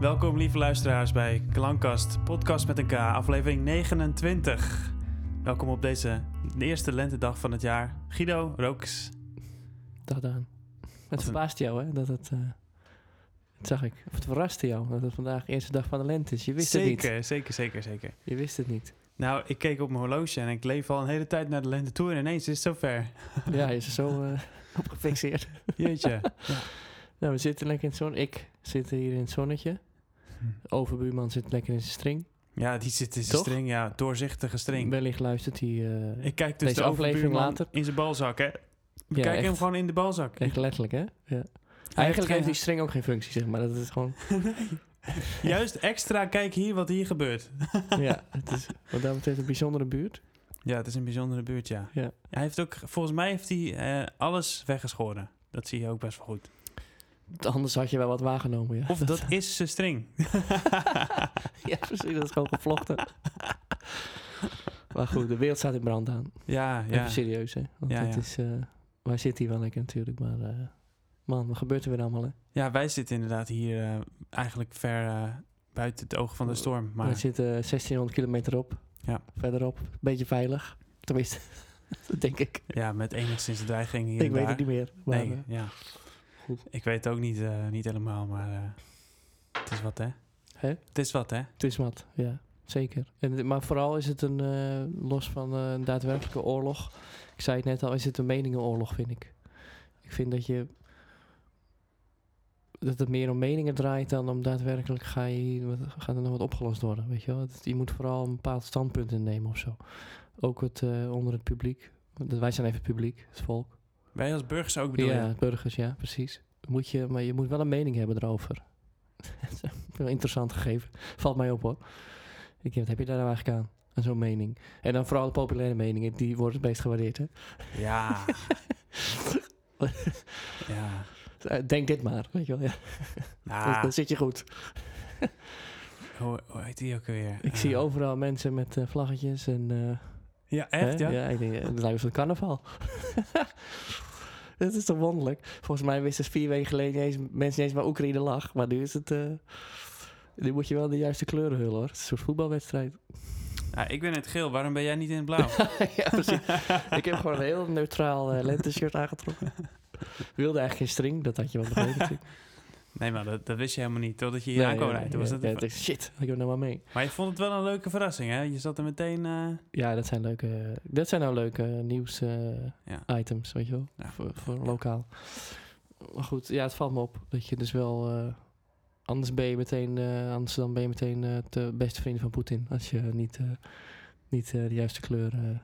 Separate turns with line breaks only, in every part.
Welkom lieve luisteraars bij Klankkast, podcast met een K, aflevering 29. Welkom op deze de eerste lentedag van het jaar. Guido, Rooks.
Dag Daan.
een-
Het verbaasde jou, hè? Dat het. eh, dat zag ik. Of het verraste jou dat het vandaag de eerste dag van de lente is. Je wist het niet.
Zeker, zeker, zeker, zeker.
Je wist het niet.
Nou, ik keek op mijn horloge en ik leef al een hele tijd naar de lente toe en ineens is het zover.
Ja, je is er zo eh, op gefixeerd.
Jeetje.
Nou, we zitten lekker in het zonnetje. Ik zit hier in het zonnetje.
Hm.
De overbuurman zit lekker in zijn string.
Ja, die zit in zijn
Toch?
string, ja, doorzichtige string.
Wellicht luistert hij eh,
Ik kijk dus
Deze
de
aflevering
overbuurman
later.
in zijn balzak, hè. We
Ja,
kijken hem
echt.
gewoon in de balzak.
echt letterlijk, hè? Ja. Eigenlijk
geen-
heeft die string ook geen functie, zeg maar. Dat is gewoon.
Juist extra kijk hier wat hier gebeurt.
ja, het is wat dat betreft een bijzondere buurt.
Ja, het is een bijzondere buurt, ja.
Ja.
Hij heeft ook, volgens mij heeft hij eh, alles weggeschoren. Dat zie je ook best wel goed.
Anders had je wel wat waargenomen, ja.
Of dat is zijn string.
Ja, precies. Dat is gewoon gevlochten. maar goed, de wereld staat in brand aan.
Ja, ja.
Even serieus, hè? Want
Ja,
het
ja.
is... eh wij zitten hier wel lekker natuurlijk, maar... eh, man, wat gebeurt er weer allemaal, hè?
Ja, wij zitten inderdaad hier eh, eigenlijk ver eh, buiten het oog van de storm.
We
Maar
zitten 1600 kilometer op.
Ja.
Verderop. Beetje veilig. Tenminste, dat denk ik.
ja, met enigszins de dreiging hier
ik
en
weet
daar.
het niet meer. Maar,
Nee,
eh,
ja.
goed.
Ik weet het ook niet, eh, niet helemaal, maar eh, het is wat, hè?
Hè?
Het is wat, hè?
het is wat, ja. Zeker. En, maar vooral is het een... eh, los van eh, een daadwerkelijke oorlog. Ik zei het net al, is het een meningenoorlog, vind ik. Ik vind dat je... Dat het meer om meningen draait dan om daadwerkelijk ga je, wat- gaat er nog wat opgelost worden. Weet je, wel? Dat, je moet vooral een bepaald standpunt innemen of zo. Ook het, eh, onder het publiek. Want wij zijn even het publiek, het volk.
Wij als burgers ook bedoel
ja,
je?
burgers, ja, precies. Moet je, maar je moet wel een mening hebben erover. Dat is wel interessant gegeven. Valt mij op hoor. Ik, wat heb je daar nou eigenlijk aan? Aan zo'n mening. En dan vooral de populaire meningen, die worden het meest gewaardeerd. Hè?
Ja. ja.
Eh, Denk dit maar, weet je wel. Ja.
Nou,
Dan zit je goed.
hoe, hoe heet die ook weer? Eh,
Ik zie overal mensen met eh, vlaggetjes en... eh,
Ja, echt,
hè?
ja?
ik denk, eh, het lijkt wel carnaval. Dat is toch wonderlijk? Volgens mij wisten vier weken geleden niet eens, mensen niet eens waar Oekraïne lag. Maar nu is het... eh, nu moet je wel de juiste kleuren hullen, hoor. Het is een soort voetbalwedstrijd.
Ah, ik ben in het geel, waarom ben jij niet in het blauw?
ja, precies. ik heb gewoon een heel neutraal eh, lente-shirt aangetrokken. wilde eigenlijk geen string, dat had je wel begrepen natuurlijk.
nee, maar dat, dat wist je helemaal niet, totdat je hier aan
Nee,
kwam
ja,
rijden.
ja,
was dat
ja,
een
ik dacht, shit, ik heb nou maar mee.
ver- Maar je vond het wel een leuke verrassing, hè? Je zat er meteen... eh,
Ja, dat zijn leuke, dat zijn nou leuke
Ja.
nieuws-items, weet je wel,
Ja.
voor, voor lokaal. Maar goed, ja, het valt me op dat je dus wel, eh, anders ben je meteen, eh, anders dan ben je meteen eh, de beste vriend van Poetin als je niet, eh, niet eh, de juiste kleur eh,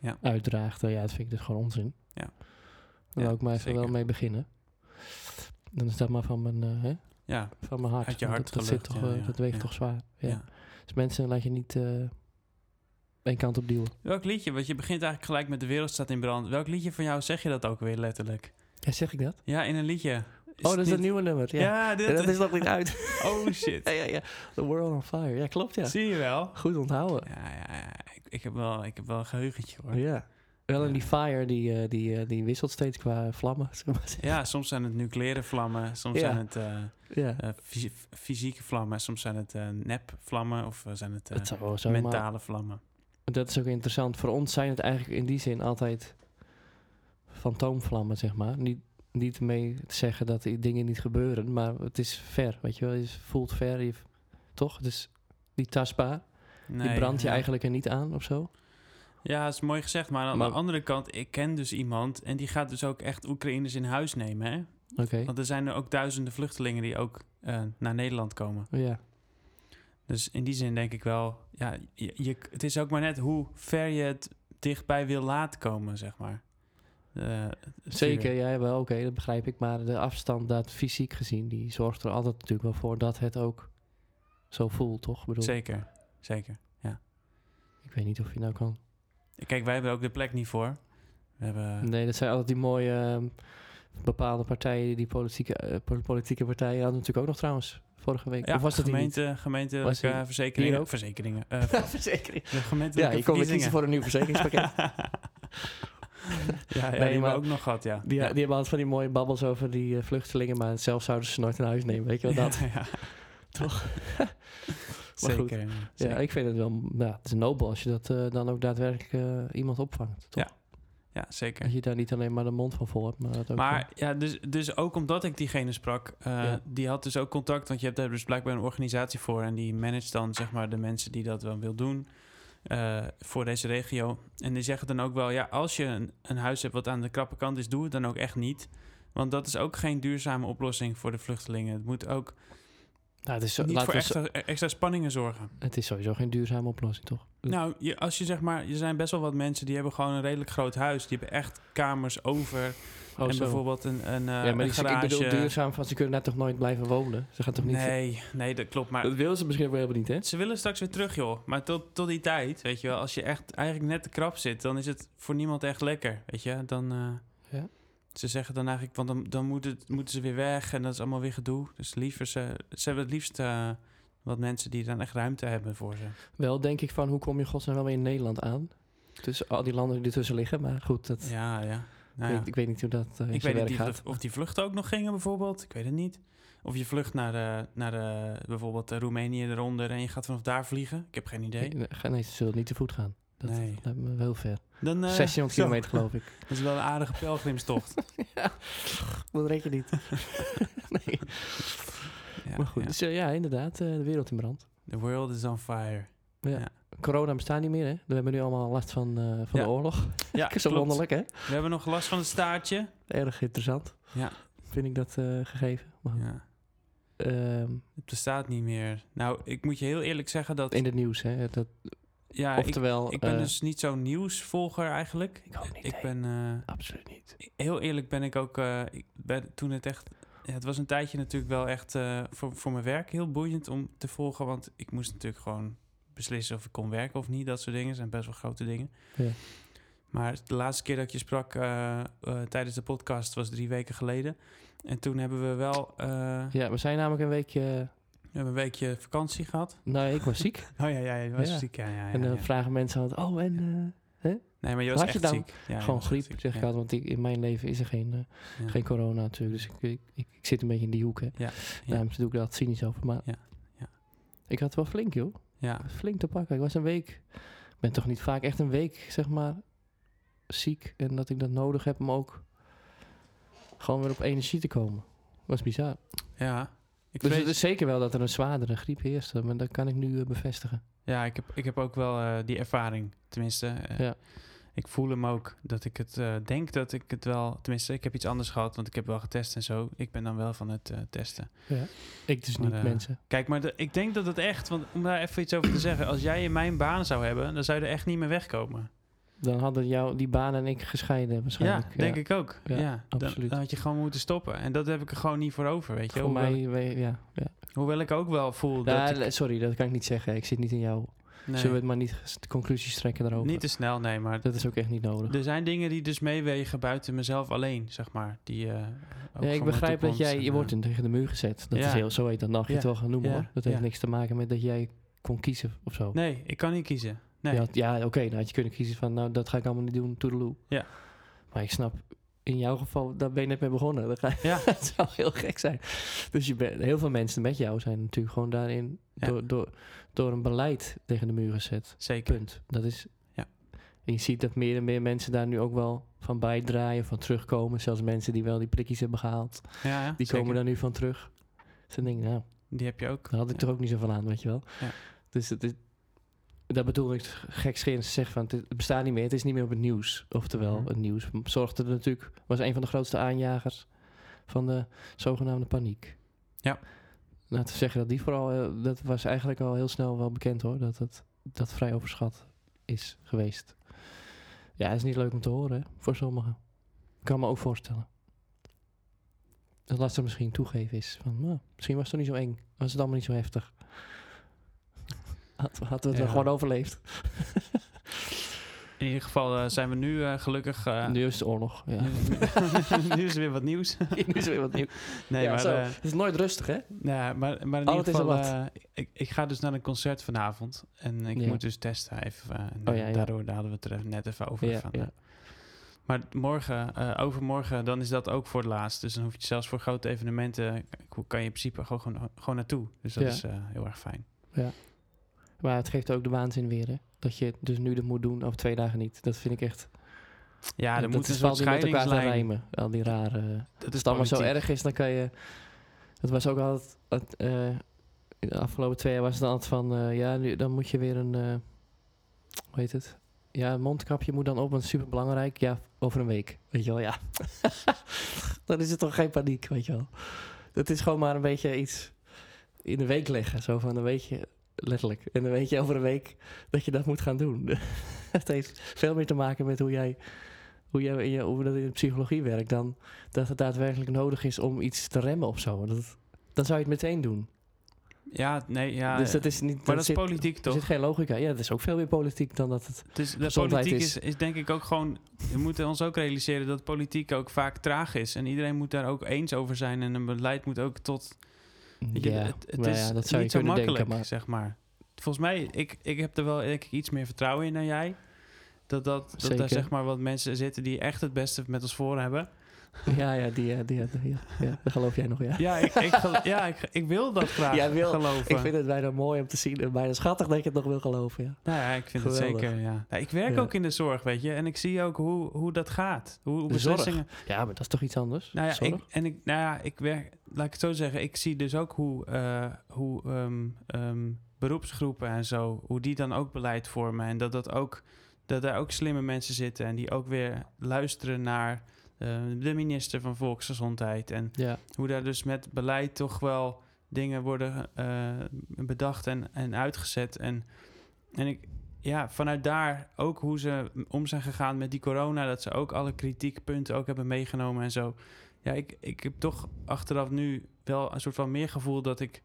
Ja.
uitdraagt. Nou ja, dat vind ik dus gewoon onzin.
Ja.
Daar
Ja,
wil ik maar even
zeker.
wel mee beginnen. Dan is dat maar van mijn, eh, hè,
ja,
van mijn hart.
Uit je
want
hart
dat, dat,
gelucht,
zit toch,
ja,
eh,
ja,
dat weegt
ja.
toch zwaar. Ja.
ja.
Dus mensen laat je niet eh één kant op duwen.
Welk liedje? Want je begint eigenlijk gelijk met De Wereld Staat in Brand. Welk liedje van jou zeg je dat ook weer letterlijk?
Ja, zeg ik dat?
Ja, in een liedje.
oh, dat is
het
dat
niet-
nieuwe nummer. Ja,
Ja, dit...
Ja, dat is nog niet uit.
Oh, shit.
ja, ja, ja. The World on Fire. Ja, klopt ja.
Zie je wel?
Goed onthouden.
Ja, ja, ja. Ik, ik, heb wel, ik heb wel een geheugentje, hoor. Ja.
Ja. Wel, en
Ja.
die fire die, eh, die, eh, die wisselt steeds qua vlammen. zullen we maar zeggen.
soms zijn het nucleaire vlammen, soms
Ja.
zijn het eh,
Ja.
eh, fysi- fysieke vlammen, soms zijn het eh nepvlammen of eh, zijn het eh,
Dat zou wel zo maar.
mentale vlammen.
Dat is ook interessant. Voor ons zijn het eigenlijk in die zin altijd fantoomvlammen, zeg maar. Niet, niet mee te zeggen dat die dingen niet gebeuren, maar het is ver, weet je wel. Je voelt ver, je, toch? Het is niet tastbaar.
Nee,
die brandt je
ja.
eigenlijk er niet aan of zo.
Ja, dat is mooi gezegd. Maar aan
Maar-
de andere kant, ik ken dus iemand... en die gaat dus ook echt Oekraïners in huis nemen, hè?
Oké.
Want er zijn er ook duizenden vluchtelingen die ook eh, naar Nederland komen.
Ja.
Dus in die zin denk ik wel... Ja, je, je- het is ook maar net hoe ver je het dichtbij wil laten komen, zeg maar. Eh, het
Zeker,
vuur.
ja, wel, oké, dat begrijp ik. Maar de afstand, dat fysiek gezien, die zorgt er altijd natuurlijk wel voor dat het ook zo voelt, toch? Ik bedoel,
Zeker, zeker.
ik weet niet of je nou kan.
Kijk, wij hebben er ook de plek niet voor. We hebben...
Nee, dat zijn altijd die mooie ehm, bepaalde partijen, die politieke, eh, po- politieke partijen hadden natuurlijk ook nog trouwens vorige week.
Ja,
of was dat die
gemeente, gemeentelijke
Was die-
verzekeringen.
hier ook?
Verzekeringen. eh,
niet? Verzekering.
de gemeentelijke
Ja, je kon weer
verkiezingen.
kiezen voor een nieuw verzekeringspakket.
ja, ja, die
maar-
hebben we ook nog gehad, ja.
Die, die
ja.
hebben altijd van die mooie babbels over die eh, vluchtelingen, maar zelf zouden ze ze nooit in huis nemen, weet je wel dat?
Ja, ja.
Toch? Maar goed.
Zeker.
Ja, ik vind het wel... Nou, het is nobel als je dat eh, dan ook daadwerkelijk eh, iemand opvangt. Toch?
ja, zeker.
Dat je daar niet alleen maar de mond van vol hebt, maar dat ook... eh,
Maar ja, dus, dus ook omdat ik diegene sprak, eh,
Ja.
die had dus ook contact. Want je hebt daar dus blijkbaar een organisatie voor. En die managt dan zeg maar de mensen die dat dan wil doen eh, voor deze regio. En die zeggen dan ook wel, ja, als je een, een huis hebt wat aan de krappe kant is, doe het dan ook echt niet. Want dat is ook geen duurzame oplossing voor de vluchtelingen. Het moet ook
Nou, het, is zo-
niet
laten
voor
we zo-
extra, extra spanningen zorgen.
het is sowieso geen duurzame oplossing, toch?
Nou, je, als je zeg maar, er zijn best wel wat mensen die hebben gewoon een redelijk groot huis. Die hebben echt kamers over.
Oh,
en
zo.
bijvoorbeeld een, een, eh,
ja, maar
een
ik, ik
garage.
bedoel duurzaam, van ze kunnen daar toch nooit blijven wonen? Ze gaan toch niet...
Nee, nee, dat klopt. Maar
Dat willen ze misschien wel helemaal niet, hè?
ze willen straks weer terug, joh. Maar tot, tot die tijd, weet je wel, als je echt eigenlijk net te krap zit, dan is het voor niemand echt lekker, weet je. Dan, eh,
Ja.
Ze zeggen dan eigenlijk, want dan, dan moet het, moeten ze weer weg en dat is allemaal weer gedoe. Dus liever ze, ze hebben het liefst eh, wat mensen die dan echt ruimte hebben voor ze.
Wel denk ik van, hoe kom je godsnaam wel weer in Nederland aan? Tussen al die landen die ertussen liggen, maar goed, dat,
Ja, ja.
ik,
Nou, ja.
weet, ik weet niet hoe dat eh, in
Ik
zijn
weet
werk
niet
gaat.
of, of die vluchten ook nog gingen bijvoorbeeld. Ik weet het niet. Of je vlucht naar, eh, naar eh, bijvoorbeeld eh, Roemenië eronder en je gaat vanaf daar vliegen. Ik heb geen idee.
Nee, ga- nee, ze zullen niet te voet gaan. Dat
Nee.
lijkt me heel ver.
Dan, eh,
1600
zo.
kilometer geloof ik.
Dat is wel een aardige pelgrimstocht.
Dat red je niet. nee.
Ja,
maar goed,
ja.
dus eh, ja, inderdaad, eh, de wereld in brand.
The world is on fire.
Corona bestaat niet meer, hè? We hebben nu allemaal last van, eh, van
Ja.
de oorlog.
Ja,
Dat is wel wonderlijk, hè?
We hebben nog last van het staartje.
Erg interessant.
Ja.
Vind ik dat eh, gegeven. Maar,
Ja,
ehm,
het bestaat niet meer. Nou, ik moet je heel eerlijk zeggen dat...
in het nieuws, hè? Dat,
ja, ik,
oftewel...
ik ben
eh,
dus niet zo'n nieuwsvolger eigenlijk.
Ik ook niet,
Ik
hè.
ben... eh,
Absoluut niet.
heel eerlijk ben ik ook... eh, ik ben, toen het echt... ja, het was een tijdje natuurlijk wel echt eh, voor, voor mijn werk heel boeiend om te volgen. Want ik moest natuurlijk gewoon beslissen of ik kon werken of niet. Dat soort dingen zijn best wel grote dingen.
Ja.
Maar de laatste keer dat ik je sprak eh, eh, tijdens de podcast was drie weken geleden. En toen hebben we wel eh,
Ja, we zijn namelijk een weekje... eh,
we hebben een weekje vakantie gehad.
Nou, ik was ziek.
Oh ja, ja, ja, je was
Ja.
ziek. Ja, ja, ja,
en dan
ja.
vragen mensen altijd... Oh, en... eh,
Nee, maar je was
Had je
echt
dan
ziek. Ja, je
gewoon
was echt
griep,
ziek.
zeg ik
ja.
altijd. Want ik, in mijn leven is er geen, eh,
Ja.
geen corona natuurlijk. Dus ik, ik, ik, ik zit een beetje in die hoek, hè.
Ja,
Daarom doe ik dat cynisch over. Maar
Ja, ja.
ik had wel flink, joh.
Ja,
Flink te pakken. Ik was een week... Ik ben toch niet vaak echt een week, zeg maar, ziek. En dat ik dat nodig heb om ook gewoon weer op energie te komen. was bizar.
ja. Ik
Dus
weet-
het is zeker wel dat er een zwaardere griep heerste. Maar dat kan ik nu eh, bevestigen.
Ja, ik heb, ik heb ook wel eh, die ervaring. Tenminste, eh,
Ja.
ik voel hem ook. Dat ik het eh, denk dat ik het wel... Tenminste, ik heb iets anders gehad, want ik heb wel getest en zo. Ik ben dan wel van het eh, testen.
Ik dus
Maar,
niet,
eh,
mensen.
Kijk, maar de- ik denk dat het echt... Want om daar even iets over te zeggen. Als jij in mijn baan zou hebben, dan zou je er echt niet meer wegkomen.
Dan hadden jou, die baan en ik gescheiden
Ja,
waarschijnlijk.
denk ik ook.
Ja,
Ja, dan,
absoluut.
dan had je gewoon moeten stoppen. En dat heb ik er gewoon niet voor over, weet je.
Voor
hoewel,
mij, wij- ja. ja.
hoewel ik ook wel voel
Ja,
dat ik...
le- sorry, dat kan ik niet zeggen. Ik zit niet in jou.
nee,
Zullen we het maar niet ges- de conclusies trekken daarover?
niet te snel, nee, maar...
dat is ook echt niet nodig.
Er zijn dingen die dus meewegen buiten mezelf alleen, zeg maar. Die, eh, ook
Ja,
gewoon
ik begrijp
toekomst
dat jij,
en,
je
eh,
wordt in, tegen de muur gezet. Dat
Ja.
is heel, zo heet dat, mag je
Ja.
het wel gaan noemen
Ja.
hoor. Dat heeft
Ja.
niks te maken met dat jij kon kiezen of zo.
Nee, ik kan niet kiezen. Nee.
Je had- ja, oké, dan had je kunnen kiezen van, nou dat ga ik allemaal niet doen, toedeloe.
Ja.
Maar ik snap, in jouw geval, daar ben je net mee begonnen. Dat, ga-
Ja.
dat zou heel gek zijn. Dus je bent heel veel mensen met jou zijn natuurlijk gewoon daarin
Ja.
door, door, door een beleid tegen de muur gezet.
Zeker.
Punt. Dat is.
Ja.
En je ziet dat meer en meer mensen daar nu ook wel van bijdraaien, van terugkomen. Zelfs mensen die wel die prikjes hebben gehaald,
Ja, ja,
die
zeker.
komen daar nu van terug. Dus dan denk ik, nou,
Die heb je ook.
daar had ik
Ja.
toch ook niet zo van aan, weet je wel.
Ja.
Dus het is, dat bedoel ik gekscherend te zeggen van, het is- het bestaat niet meer, het is niet meer op het nieuws. Oftewel,
Mhm.
het nieuws zorgde er natuurlijk, was een van de grootste aanjagers van de zogenaamde paniek.
Ja.
Laten we zeggen dat die vooral, eh, dat was eigenlijk al heel snel wel bekend hoor, dat het, dat vrij overschat is geweest. Ja, is niet leuk om te horen hè, voor sommigen. Ik kan me ook voorstellen. Dat lastig misschien toegeven is. Van, nou, misschien was het toch niet zo eng. Was het allemaal niet zo heftig. Had- Hadden we het
Ja.
dan gewoon overleefd.
In ieder geval eh, zijn we nu eh, gelukkig... eh,
Nu is het oorlog. Ja.
nu is er weer wat nieuws.
nu is er weer wat nieuw.
Nee,
Ja,
maar,
zo.
eh,
het is nooit rustig hè?
nou, maar, maar in
Altijd is
ieder
er
geval... eh, ik, ik ga dus naar een concert vanavond. En ik
Ja.
moet dus testen even. eh, en
Oh, ja, ja.
Daardoor daar hadden we het er even- net even over.
Ja,
van,
ja.
eh, Maar morgen, eh, overmorgen, dan is dat ook voor het laatst. Dus dan hoef je zelfs voor grote evenementen, k- kan je in principe gewoon, gewoon, gewoon naartoe. Dus dat
Ja.
is eh, heel erg fijn.
Maar het geeft ook de waanzin weer, hè? Dat je het dus nu dat moet doen, over twee dagen niet. Dat vind ik echt...
Ja, Ah, er
dat
moet een soort
is valt niet met elkaar te
scheidingslijn.
rijmen. Al die rare...
Dat
Als het allemaal zo
politiek.
erg is, dan kan je... Het was ook altijd... het, eh, in de afgelopen twee jaar was het altijd van... eh, ja, nu, dan moet je weer een... eh, hoe heet het? Ja, een mondkapje moet dan op, want super belangrijk. Ja, over een week. Weet je wel, ja. dan is het toch geen paniek, weet je wel. Dat is gewoon maar een beetje iets in de week leggen. Zo van, dan weet je... Letterlijk. En dan weet je over een week dat je dat moet gaan doen. het heeft veel meer te maken met hoe jij... Hoe, jij, in je- hoe dat in de psychologie werkt dan dat het daadwerkelijk nodig is om iets te remmen of zo. Dat, dan zou je het meteen doen.
Ja, nee, ja.
dus dat is niet.
maar dat is
zit,
politiek
Er
toch?
zit geen logica. Ja, dat is ook veel meer politiek dan dat het.
Dus de
gezondheid
politiek is,
is-
is denk ik ook gewoon... We moeten ons ook realiseren dat politiek ook vaak traag is. En iedereen moet daar ook eens over zijn. En een beleid moet ook tot... weet je,
ja,
het, het
nou
is
ja, dat zou je
niet zo
kunnen
makkelijk,
denken. Maar
zeg maar. Volgens mij, ik, ik heb er wel denk ik, iets meer vertrouwen in dan jij. Dat, dat, dat daar
Zeker.
zeg maar wat mensen zitten die echt het beste met ons voor hebben.
ja, ja, die, ja, die, ja, die- ja, ja, dat geloof jij nog, ja.
Ja, ik, ik, gel- ja, ik, ik wil dat graag
Jij wil-
geloven.
Ik vind het bijna mooi om te zien en bijna schattig dat je het nog wil geloven, ja.
Nou ja, ik vind het
Geweldig.
zeker. Ja. Nou, ik werk
Ja.
ook in de zorg, weet je. En ik zie ook hoe, hoe dat gaat. Hoe, hoe
De zorg.
beslissingen.
Ja, maar dat is toch iets anders?
Nou ja,
Zorg?
ik, en ik, nou ja, ik werk, laat ik het zo zeggen, ik zie dus ook hoe, eh, hoe ehm, ehm, beroepsgroepen en zo, hoe die dan ook beleid vormen. En dat, dat, ook, dat daar ook slimme mensen zitten en die ook weer luisteren naar eh, de minister van Volksgezondheid. En
Ja,
hoe daar dus met beleid toch wel dingen worden eh, bedacht en, en uitgezet. En, en ik, ja, vanuit daar ook hoe ze om zijn gegaan met die corona, dat ze ook alle kritiekpunten ook hebben meegenomen en zo. Ja, ik, ik heb toch achteraf nu wel een soort van meer gevoel dat ik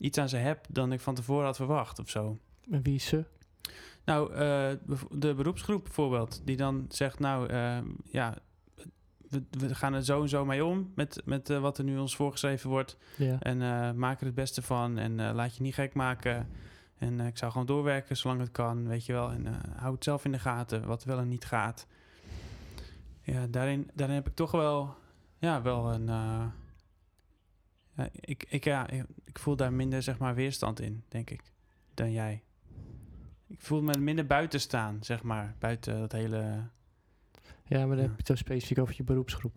iets aan ze heb dan ik van tevoren had verwacht of zo.
en wie is ze?
Nou, eh, bev- de beroepsgroep bijvoorbeeld, die dan zegt, nou eh, ja, we, we gaan er zo en zo mee om met, met eh, wat er nu ons voorgeschreven wordt.
Ja.
En eh, maak er het beste van. En eh, laat je niet gek maken. En eh, ik zou gewoon doorwerken zolang het kan, weet je wel. En eh hou het zelf in de gaten, wat wel en niet gaat. Ja, daarin, daarin heb ik toch wel, ja, wel een... eh, ja, ik, ik, ja, ik- ik voel daar minder, zeg maar, weerstand in, denk ik, dan jij. Ik voel me minder buiten staan, zeg maar. Buiten dat hele...
ja, maar dan
Ja.
heb je het zo specifiek over je beroepsgroep.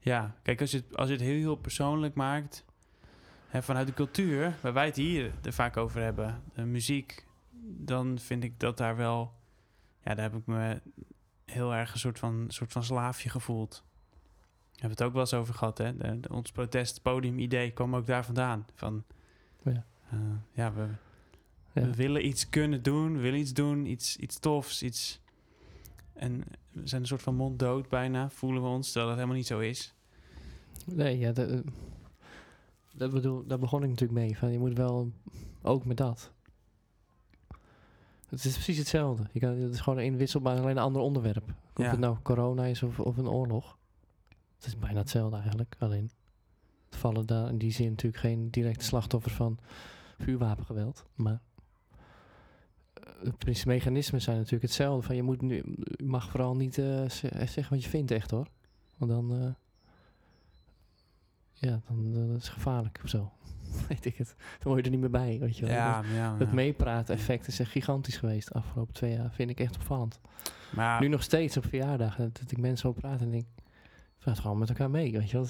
Ja, kijk, als je het, als je het heel, heel persoonlijk maakt... Hè, vanuit de cultuur, waar wij het hier er vaak over hebben... de muziek, dan vind ik dat daar wel... Ja, daar heb ik me heel erg een soort van, soort van slaafje gevoeld. We hebben het ook wel eens over gehad, hè? De, de- ons protestpodium-idee kwam ook daar vandaan. Van,
Oh Ja.
eh, ja, we,
Ja.
we willen iets kunnen doen, we willen iets doen, iets, iets tofs, iets... En we zijn een soort van monddood bijna, voelen we ons, terwijl dat helemaal niet zo is.
Nee, ja, dat, eh, dat bedoel, daar begon ik natuurlijk mee. Van, je moet wel ook met dat. Het is precies hetzelfde. Je kan, het is gewoon inwisselbaar, alleen een ander onderwerp. Of
Ja.
het nou corona is of, of een oorlog. Het is bijna hetzelfde eigenlijk. Alleen er vallen daar in die zin natuurlijk geen directe slachtoffers van vuurwapengeweld. Maar eh, de prins- mechanismen zijn natuurlijk hetzelfde. Van, je, moet nu, je mag vooral niet eh, ze- eh, zeggen wat je vindt echt hoor. Want dan... eh, ja, dan eh, dat is gevaarlijk of zo. Weet ik het. Dan hoor je er niet meer bij, weet je wel. Dus
Ja, ja,
Het
ja.
meepraat-effect is echt gigantisch geweest de afgelopen twee jaar. Vind ik echt opvallend.
Maar
Nu nog steeds op verjaardag dat, dat ik mensen zo praat en denk... Praat gewoon met elkaar mee, weet je wel.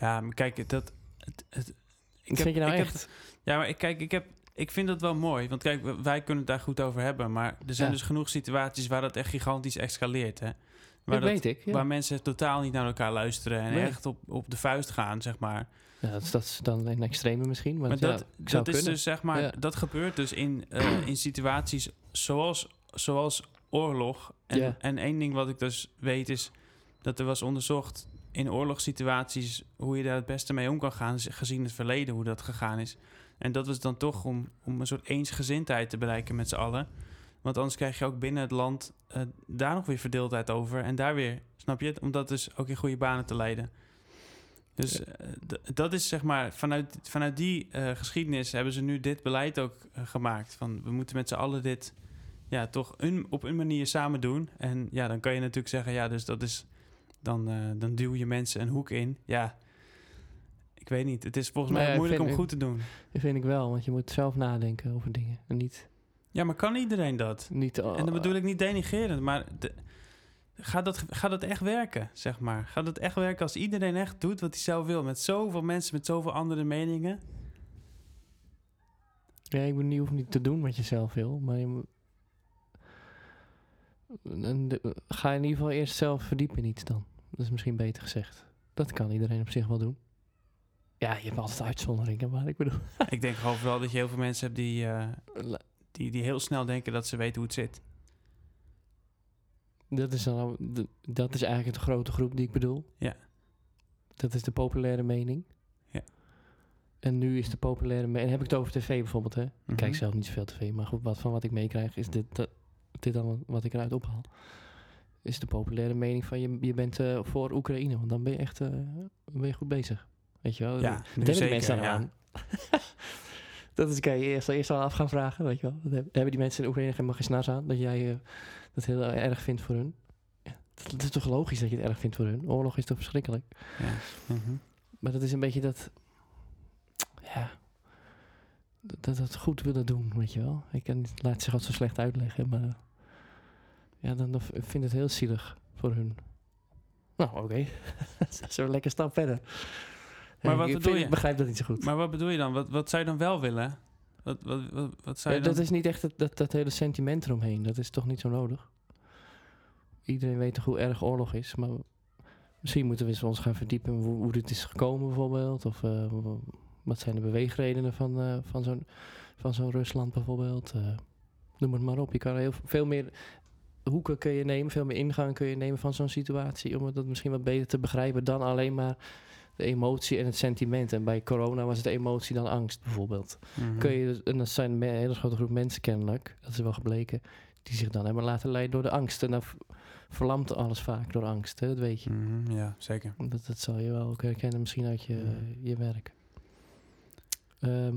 ja, maar kijk, dat. Het, het,
Ik vind je nou
ik heb-
echt...
ja, maar ik, kijk, ik, heb, ik vind dat wel mooi. Want kijk, w- wij kunnen het daar goed over hebben. Maar er zijn
Ja.
dus genoeg situaties waar dat echt gigantisch escaleert. Hè? Waar,
dat
dat,
weet ik, ja.
waar mensen totaal niet naar elkaar luisteren. En
Nee.
echt op, op de vuist gaan, zeg maar.
ja dat, is, dat is dan in extreme misschien, maar,
Maar
ja,
dat,
ik zou
dat is
kunnen.
dus, zeg maar,
Ja.
dat gebeurt dus in, eh, in situaties zoals, zoals oorlog. En,
Ja.
en één ding wat ik dus weet is dat er was onderzocht in oorlogssituaties hoe je daar het beste mee om kan gaan, z- gezien het verleden hoe dat gegaan is. En dat was dan toch om, om een soort eensgezindheid te bereiken met z'n allen. Want anders krijg je ook binnen het land eh, daar nog weer verdeeldheid over. En daar weer, snap je het? Om dat dus ook in goede banen te leiden. Dus eh, d- dat is zeg maar, vanuit, vanuit die eh, geschiedenis hebben ze nu dit beleid ook eh, gemaakt. Van we moeten met z'n allen dit ja, toch een, op een manier samen doen. En ja, dan kan je natuurlijk zeggen, ja, dus dat is, dan, eh, dan duw je mensen een hoek in. Ja, ik weet niet. Het is volgens mij
Nee, ik
moeilijk om
vind-
goed te doen.
Dat vind ik wel, want je moet zelf nadenken over dingen. En niet...
Ja, maar kan iedereen dat?
niet eh,
En dat bedoel ik niet denigrerend, maar de- gaat, dat, gaat dat echt werken, zeg maar? Gaat dat echt werken als iedereen echt doet wat hij zelf wil? Met zoveel mensen, met zoveel andere meningen?
Ja, ik bedoel, je hoeft niet te doen wat je zelf wil, maar je moet- En de- ga in ieder geval eerst zelf verdiepen in iets dan. Dat is misschien beter gezegd. Dat kan iedereen op zich wel doen. Ja, je hebt altijd uitzonderingen, maar ik bedoel...
ik denk gewoon vooral dat je heel veel mensen hebt die, eh, die, die heel snel denken dat ze weten hoe het zit.
Dat is, dan, al- d- dat is eigenlijk de grote groep die ik bedoel.
Ja.
Dat is de populaire mening.
Ja.
En nu is de populaire mening... En heb ik het over tv bijvoorbeeld, hè? Ik kijk
Mhm.
zelf niet zoveel tv, maar goed, wat, van wat ik meekrijg is dit, dat, dit dan wat ik eruit ophaal. Is de populaire mening van je, je bent eh, voor Oekraïne, want dan ben je echt eh, ben je goed bezig. Weet je wel?
Ja,
Dan
nu
hebben die
zeker,
mensen
ja.
aan. dat is, kan je eerst, eerst al af gaan vragen, weet je wel. Dat heb- hebben die mensen in Oekraïne helemaal geen snars aan, dat jij eh, dat heel erg vindt voor hun. Ja, dat, dat is toch logisch dat je het erg vindt voor hun? Oorlog is toch verschrikkelijk?
Ja. Mhm.
Maar dat is een beetje dat... Ja... Dat dat het goed willen doen, weet je wel. Ik kan niet, laat het zich altijd zo slecht uitleggen, maar... eh, Ja, dan dan v- ik vind het heel zielig voor hun. Nou, oké. Dat is een lekker stap verder.
Maar
Ik
wat
vind-
bedoel je?
Ik begrijp dat niet zo goed.
Maar wat bedoel je dan? Wat, wat zou je dan wel willen? Wat, wat, wat, wat zou
Ja,
je
dat
dan...
is niet echt het, dat, dat hele sentiment eromheen. Dat is toch niet zo nodig. Iedereen weet toch hoe erg oorlog is. Maar misschien moeten we eens ons gaan verdiepen hoe, hoe dit is gekomen bijvoorbeeld. Of eh, w- wat zijn de beweegredenen van, eh, van zo'n van zo'n Rusland bijvoorbeeld. Eh, noem het maar op. Je kan heel v- veel meer hoeken kun je nemen. Veel meer ingang kun je nemen van zo'n situatie. Om dat misschien wat beter te begrijpen dan alleen maar de emotie en het sentiment. En bij corona was het de emotie dan angst bijvoorbeeld
Mhm.
kun je dus, en dat zijn me- een hele grote groep mensen kennelijk, dat is wel gebleken, die zich dan hebben laten leiden door de angst. En dan v- verlamt alles vaak door angst, hè, dat weet je.
Mhm, Ja, zeker.
Dat, dat zal je wel ook herkennen misschien uit je, je werk. Ehm,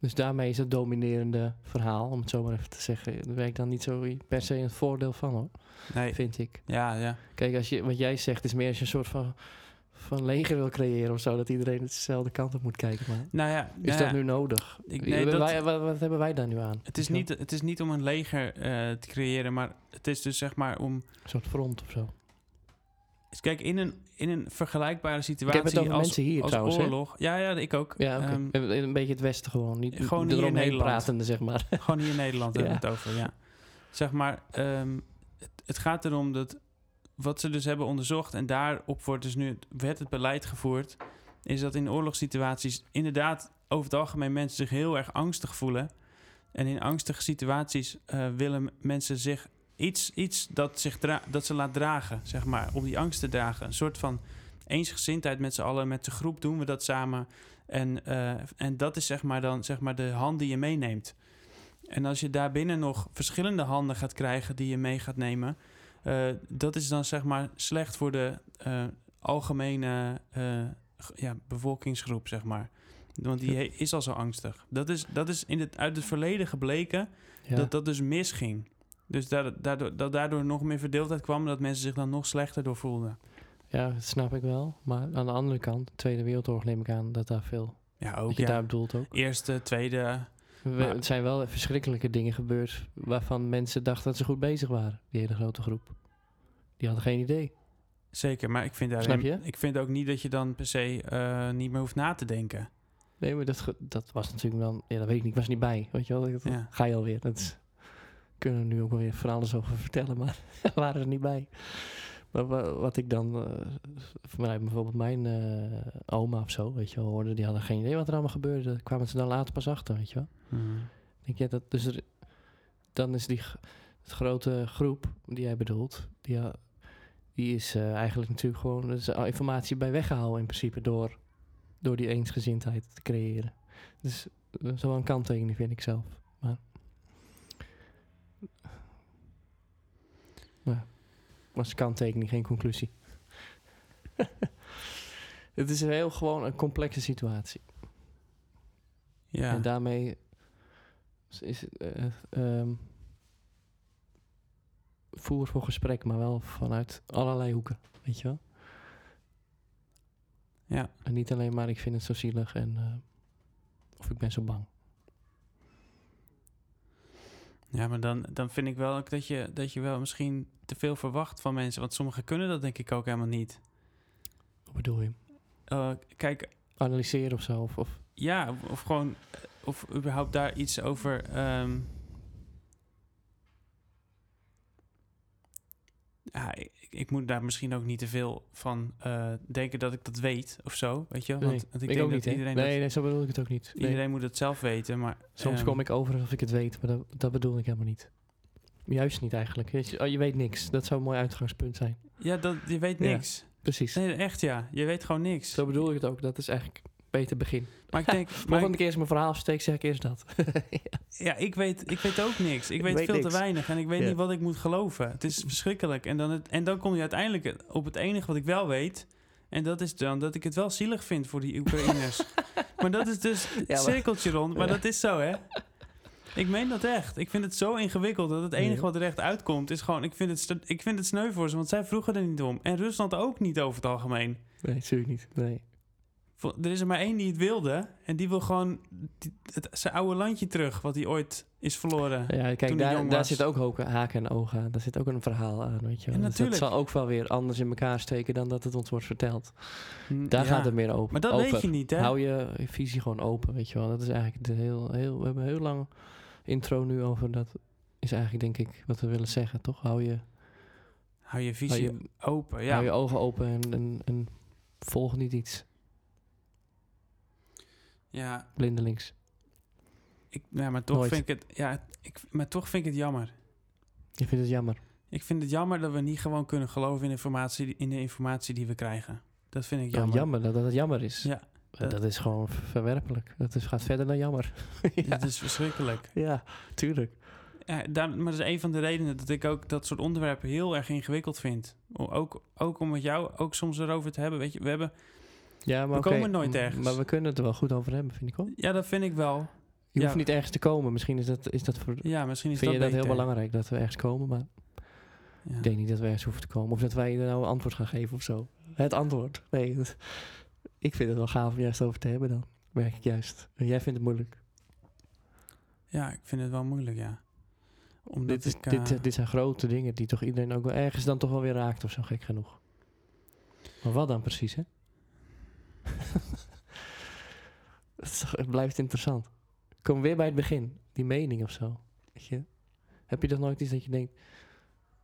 dus daarmee is het dominerende verhaal, om het zo maar even te zeggen, daar werkt dan niet zo per se een voordeel van hoor,
Nee,
vind ik.
ja, ja.
Kijk, als je, wat jij zegt is meer als je een soort van, van leger wil creëren of zo, dat iedereen dezelfde kant op moet kijken. Maar
Nou ja,
is
nou
dat
ja,
nu nodig?
ik- nee, dat-
Wij- wat, wat hebben wij daar nu aan?
Het is,
Weet je wel?
niet, het is niet om een leger eh, te creëren, maar het is dus zeg maar om...
Een soort front of zo.
Kijk, in een, in een vergelijkbare
Ik
situatie
heb het over
als,
mensen hier
als
trouwens. hè?
oorlog... Ja, ja, ik ook.
Ja, oké.
Ehm,
Een- een beetje het westen gewoon. Niet
gewoon
gewoon
hier in
eromheen
Nederland.
pratende, zeg maar.
Gewoon hier in Nederland hebben we
Ja.
het over, ja. Zeg maar, ehm, het, het gaat erom dat wat ze dus hebben onderzocht... en daarop wordt dus nu het, werd het beleid gevoerd... is dat in oorlogssituaties inderdaad over het algemeen mensen zich heel erg angstig voelen. En in angstige situaties eh, willen m- mensen zich iets, iets dat, zich dra- dat ze laat dragen, zeg maar, om die angst te dragen. Een soort van eensgezindheid met z'n allen, met de groep doen we dat samen. En, eh, en dat is zeg maar dan zeg maar de hand die je meeneemt. En als je daarbinnen nog verschillende handen gaat krijgen die je mee gaat nemen, eh, dat is dan zeg maar slecht voor de eh, algemene eh, g- ja, bevolkingsgroep, zeg maar. Want die he- is al zo angstig. Dat is, dat is in het, uit het verleden gebleken
Ja.
dat dat dus misging. Dus daar- daardoor, dat daardoor nog meer verdeeldheid kwam, dat mensen zich dan nog slechter door voelden.
ja, dat snap ik wel. Maar aan de andere kant, de Tweede Wereldoorlog neem ik aan dat daar veel...
Ja,
dat
ook
je daar
ja.
bedoelt ook.
Eerste, tweede.
We-
Maar-
het zijn wel verschrikkelijke dingen gebeurd... waarvan mensen dachten dat ze goed bezig waren. Die hele grote groep. Die hadden geen idee.
Zeker, maar ik vind, daarin,
Snap je?
ik vind ook niet dat je dan per se eh, niet meer hoeft na te denken.
Nee, maar dat, ge- dat was natuurlijk dan... Ja, dat weet ik niet. Ik was er niet bij. Weet je wel? Dat
Ja.
ga je alweer. Dat is- kunnen we nu ook alweer van alles over vertellen, maar we waren er niet bij. Maar wa- wat ik dan... eh, vanuit bijvoorbeeld mijn eh, oma of zo, weet je wel, hoorde... Die hadden geen idee wat er allemaal gebeurde. Daar kwamen ze dan later pas achter, weet je wel. Ik Denk, ja, dat, dus er, dan is die g- het grote groep die jij bedoelt... Die, ha- die is eh, eigenlijk natuurlijk gewoon... Er is al informatie bij weggehouden in principe... door, door die eensgezindheid te creëren. Dus eh, dat is wel een kanttekening, vind ik zelf. Maar... Ja. Was een kanttekening, geen conclusie. Het is een heel gewoon een complexe situatie.
Ja.
En daarmee is, is, eh, ehm, voer voor gesprek, maar wel vanuit allerlei hoeken, weet je wel?
Ja.
En niet alleen maar ik vind het zo zielig en eh, of ik ben zo bang.
Ja, maar dan, dan vind ik wel ook dat je, dat je wel misschien te veel verwacht van mensen. Want sommigen kunnen dat denk ik ook helemaal niet.
Wat bedoel je?
Eh, kijk,
Analyseren of zo? Of, of
ja, of- of gewoon... eh, Of überhaupt daar iets over... ehm, ja, ik, ik moet daar misschien ook niet te veel van eh, denken dat ik dat weet of zo, weet je? Want,
nee,
want
ik,
denk
ook
dat
niet, hè?
iedereen,
nee,
dat,
nee, zo bedoel ik het ook niet. Nee.
iedereen moet dat zelf weten, maar...
Soms
ehm,
kom ik over alsof ik het weet, maar dat, dat bedoel ik helemaal niet. Juist niet eigenlijk. Weet Je, oh, je weet niks. Dat zou een mooi uitgangspunt zijn.
Ja, dat, je weet
Ja.
niks.
Precies.
Nee, echt ja. Je weet gewoon niks.
Zo bedoel ik het ook. Dat is eigenlijk beter begin.
Maar ik denk... maar ik-
Volgende keer als ik mijn verhaal steek, zeg ik eerst dat.
Ja, ik weet, ik weet ook niks. Ik weet,
weet
veel
niks.
te weinig en ik weet
Ja.
niet wat ik moet geloven. Het is verschrikkelijk. En dan, het, en dan kom je uiteindelijk op het enige wat ik wel weet. En dat is dan dat ik het wel zielig vind voor die Oekraïners. maar dat is dus het
maar-
cirkeltje rond. Maar
Ja.
dat is zo, hè? Ik meen dat echt. Ik vind het zo ingewikkeld dat het enige
Ja.
wat er echt uitkomt is gewoon... Ik vind, het, st- ik vind het sneu voor ze, want zij vroegen er niet om. En Rusland ook niet over het algemeen.
Nee, natuurlijk niet. Nee.
Vo- Er is er maar één die het wilde. En die wil gewoon die- het, zijn oude landje terug, wat hij ooit is verloren.
Ja,
Toen
kijk,
hij
daar,
jong
daar
was.
zit ook hoken- haken en ogen aan. Daar zit ook een verhaal aan, weet je wel.
Ja,
Dus dat
natuurlijk.
zal ook wel weer anders in elkaar steken dan dat het ons wordt verteld.
Mm,
Daar
ja.
gaat het meer over.
Maar dat
over.
weet je niet, hè?
Hou je visie gewoon open, weet je wel. Dat is eigenlijk de heel, heel... We hebben een heel lang intro nu over dat... Is eigenlijk, denk ik, wat we willen zeggen, toch? Hou je,
Hou je
hou
visie
je,
open, ja.
hou je ogen open en, en, en volg niet iets
ja,
blindelings.
ik, ja, maar toch
Nooit.
vind ik het... Ja, ik, maar toch vind ik het jammer.
Je vindt het jammer.
Ik vind het jammer dat we niet gewoon kunnen geloven in, informatie, die- in de informatie die we krijgen. Dat vind ik
Ja,
jammer.
Oh, jammer, dat, dat het jammer is.
Ja,
dat, dat is gewoon ver- verwerpelijk. Dat is, gaat verder dan jammer.
Dat is verschrikkelijk.
ja, tuurlijk.
Ja, daar, maar dat is een van de redenen dat ik ook dat soort onderwerpen heel erg ingewikkeld vind. O- Ook, ook om met jou ook soms erover te hebben. Weet je, we hebben...
Ja, maar
We
oké,
komen nooit
m-
ergens.
Maar we kunnen het er wel goed over hebben, vind ik wel.
Ja, dat vind ik wel.
Je
Ja.
hoeft niet ergens te komen. Misschien is dat, is dat voor,
Ja, misschien is
vind je
dat
dat heel
beter.
belangrijk dat we ergens komen. Maar
Ja.
ik denk niet dat we ergens hoeven te komen. Of dat wij er nou een antwoord gaan geven of zo. Het antwoord. Nee, dat- ik vind het wel gaaf om juist over te hebben dan. Merk ik juist. En Jij vindt het moeilijk.
ja, ik vind het wel moeilijk, ja. Omdat
Dit, is,
ik, eh,
dit, eh, dit zijn grote dingen die toch iedereen ook wel ergens dan toch wel weer raakt of zo, gek genoeg. Maar wat dan precies, hè? Het is toch- het blijft interessant. Kom weer bij het begin. Die mening of zo. Weet je? Heb je toch nooit iets dat je denkt...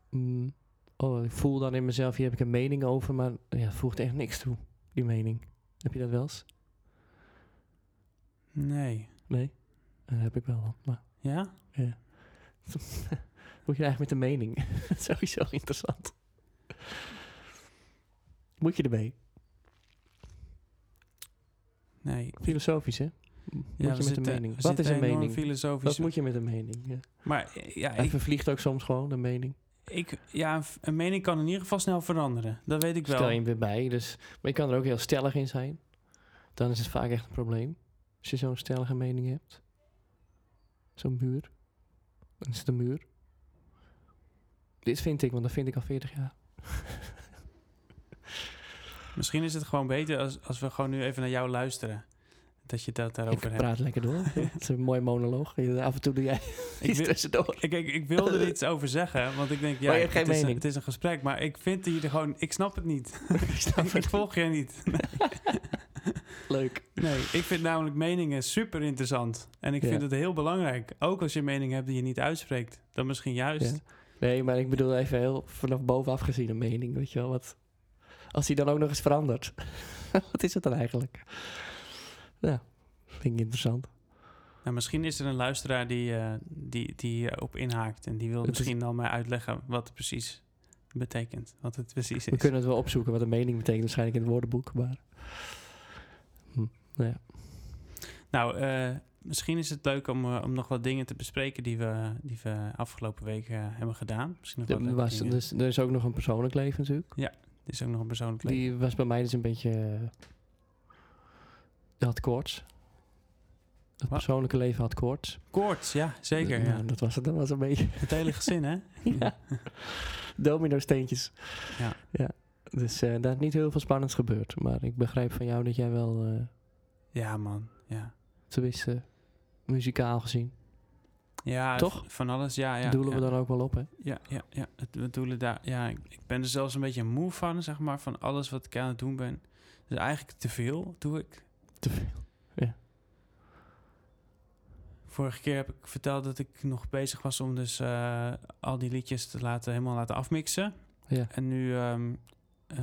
mm, oh, ik voel dan in mezelf, hier heb ik een mening over, maar ja, het voegt echt niks toe, die mening. Heb je dat wel eens?
Nee.
Nee? Dat heb ik wel, dan, maar...
Ja?
Moet je nou eigenlijk met de mening? Dat is sowieso interessant. Moet je ermee?
Nee.
Filosofisch, hè? Moet
Ja,
je
we
met
zitten-
een
we
mening? Wat
zitten
is een
enorm
mening?
Filosofisch.
Wat moet je met een mening? Ja.
Maar eh, ja,
Hij
ik,
vervliegt ook soms gewoon, de mening.
ik, ja, een f- een mening kan in ieder geval snel veranderen. Dat weet ik wel.
Stel je hem weer bij, dus... Maar je kan er ook heel stellig in zijn. Dan is het vaak echt een probleem. Als je zo'n stellige mening hebt. Zo'n muur. Dan is het een muur. Dit vind ik, want dat vind ik al 40 jaar.
Misschien is het gewoon beter als, als we gewoon nu even naar jou luisteren. Dat je dat daarover
ik
hebt.
praat lekker door. Het is een mooi monoloog. Af en toe doe jij
Ik,
iets
wil,
tussendoor.
ik, ik, ik wil er iets over zeggen, want ik denk, ja,
Maar je hebt geen
het, is een,
mening.
het is een gesprek. Maar ik vind hier gewoon, ik snap het niet.
Ik snap
ik, ik
het.
volg je niet.
Leuk.
Nee, ik vind namelijk meningen super interessant. En ik
Ja.
vind het heel belangrijk. Ook als je een mening hebt die je niet uitspreekt. Dan misschien juist.
Ja. Nee, maar ik bedoel even heel vanaf bovenaf gezien een mening, weet je wel. Wat, als die dan ook nog eens verandert. wat is het dan eigenlijk? Ja, vind ik interessant.
Nou, misschien is er een luisteraar die, eh, die, die hierop inhaakt. En die wil
Het is-
misschien dan mij uitleggen wat het precies betekent. Wat het precies
We
is.
kunnen het wel opzoeken wat een mening betekent, waarschijnlijk in het woordenboek. Maar
Nou, eh, misschien is het leuk om, eh, om nog wat dingen te bespreken die we, die we afgelopen week eh, hebben gedaan. Misschien nog wat
er,
leuke
was,
dingen.
dus, er is ook nog een persoonlijk leven natuurlijk.
Dit is ook nog een persoonlijk leven.
Die was bij mij dus een beetje... eh, had koorts. Het
Wa-
persoonlijke leven had koorts.
Koorts, ja, zeker.
Eh,
Ja.
nou, dat, was, het- dat was een beetje...
Het hele gezin, hè?
ja. Domino steentjes.
Ja.
ja. Dus eh, daar is niet heel veel spannends gebeurd. Maar ik begrijp van jou dat jij wel, eh
Ja, man. Ja,
tenminste muzikaal gezien,
ja
Toch?
v- van alles. Ja, ja.
doelen
ja.
we dan ook wel op, hè?
Ja, ja, ja. Het, we doelen daar. Ja, ik, ik ben er zelfs een beetje moe van, zeg maar, van alles wat ik aan het doen ben. Dus eigenlijk te veel doe ik.
Te veel.
Vorige keer heb ik verteld dat ik nog bezig was om dus eh, al die liedjes te laten, helemaal laten afmixen.
Ja.
En nu, ehm, eh,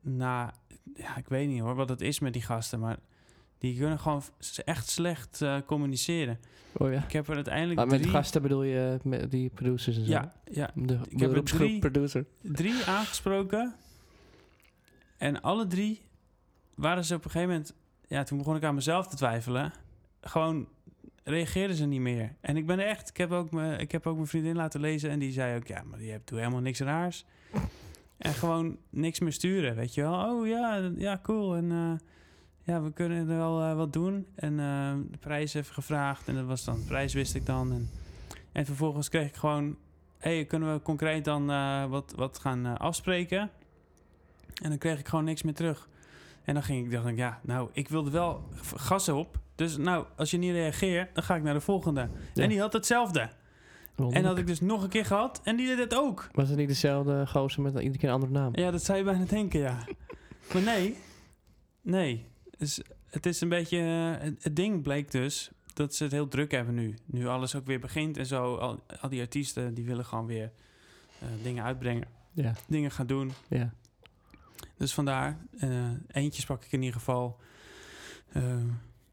na, ja, ik weet niet hoor wat het is met die gasten, maar die kunnen gewoon s- echt slecht eh, communiceren.
Oh ja.
Ik heb er uiteindelijk
Maar met
drie...
gasten bedoel je eh, met die producers en zo?
Ja, ja,
De
heb er
beroepsgroep
drie.
producer.
drie aangesproken. En alle drie waren ze op een gegeven moment... Ja, toen begon ik aan mezelf te twijfelen. Gewoon reageerden ze niet meer. En ik ben er echt... Ik heb ook mijn, ik heb ook mijn vriendin laten lezen en die zei ook... Ja, maar je hebt toen helemaal niks raars. En gewoon niks meer sturen, weet je wel. Oh ja, ja cool. En eh, ja, we kunnen er wel eh, wat doen. En eh, de prijs even gevraagd. En dat was dan... De prijs wist ik dan. En, en vervolgens kreeg ik gewoon hey, kunnen we concreet dan eh, wat, wat gaan eh, afspreken? En dan kreeg ik gewoon niks meer terug. En dan ging ik, dacht ik, ja, nou, ik wilde wel v- gas op. Dus nou, als je niet reageert, dan ga ik naar de volgende.
Ja.
En die had hetzelfde. En had
Wonderlijk.
ik dus nog een keer gehad en die deed het ook.
Was het niet dezelfde gozer met iedere keer een andere naam?
Ja, dat zou je bijna denken, ja. maar nee, nee. Dus het is een beetje... eh, het- het ding bleek dus dat ze het heel druk hebben nu. Nu alles ook weer begint en zo. Al, al die artiesten, die willen gewoon weer eh, dingen uitbrengen.
Ja.
Dingen gaan doen.
ja.
Dus vandaar, eh eentje sprak ik in ieder geval. Ehm,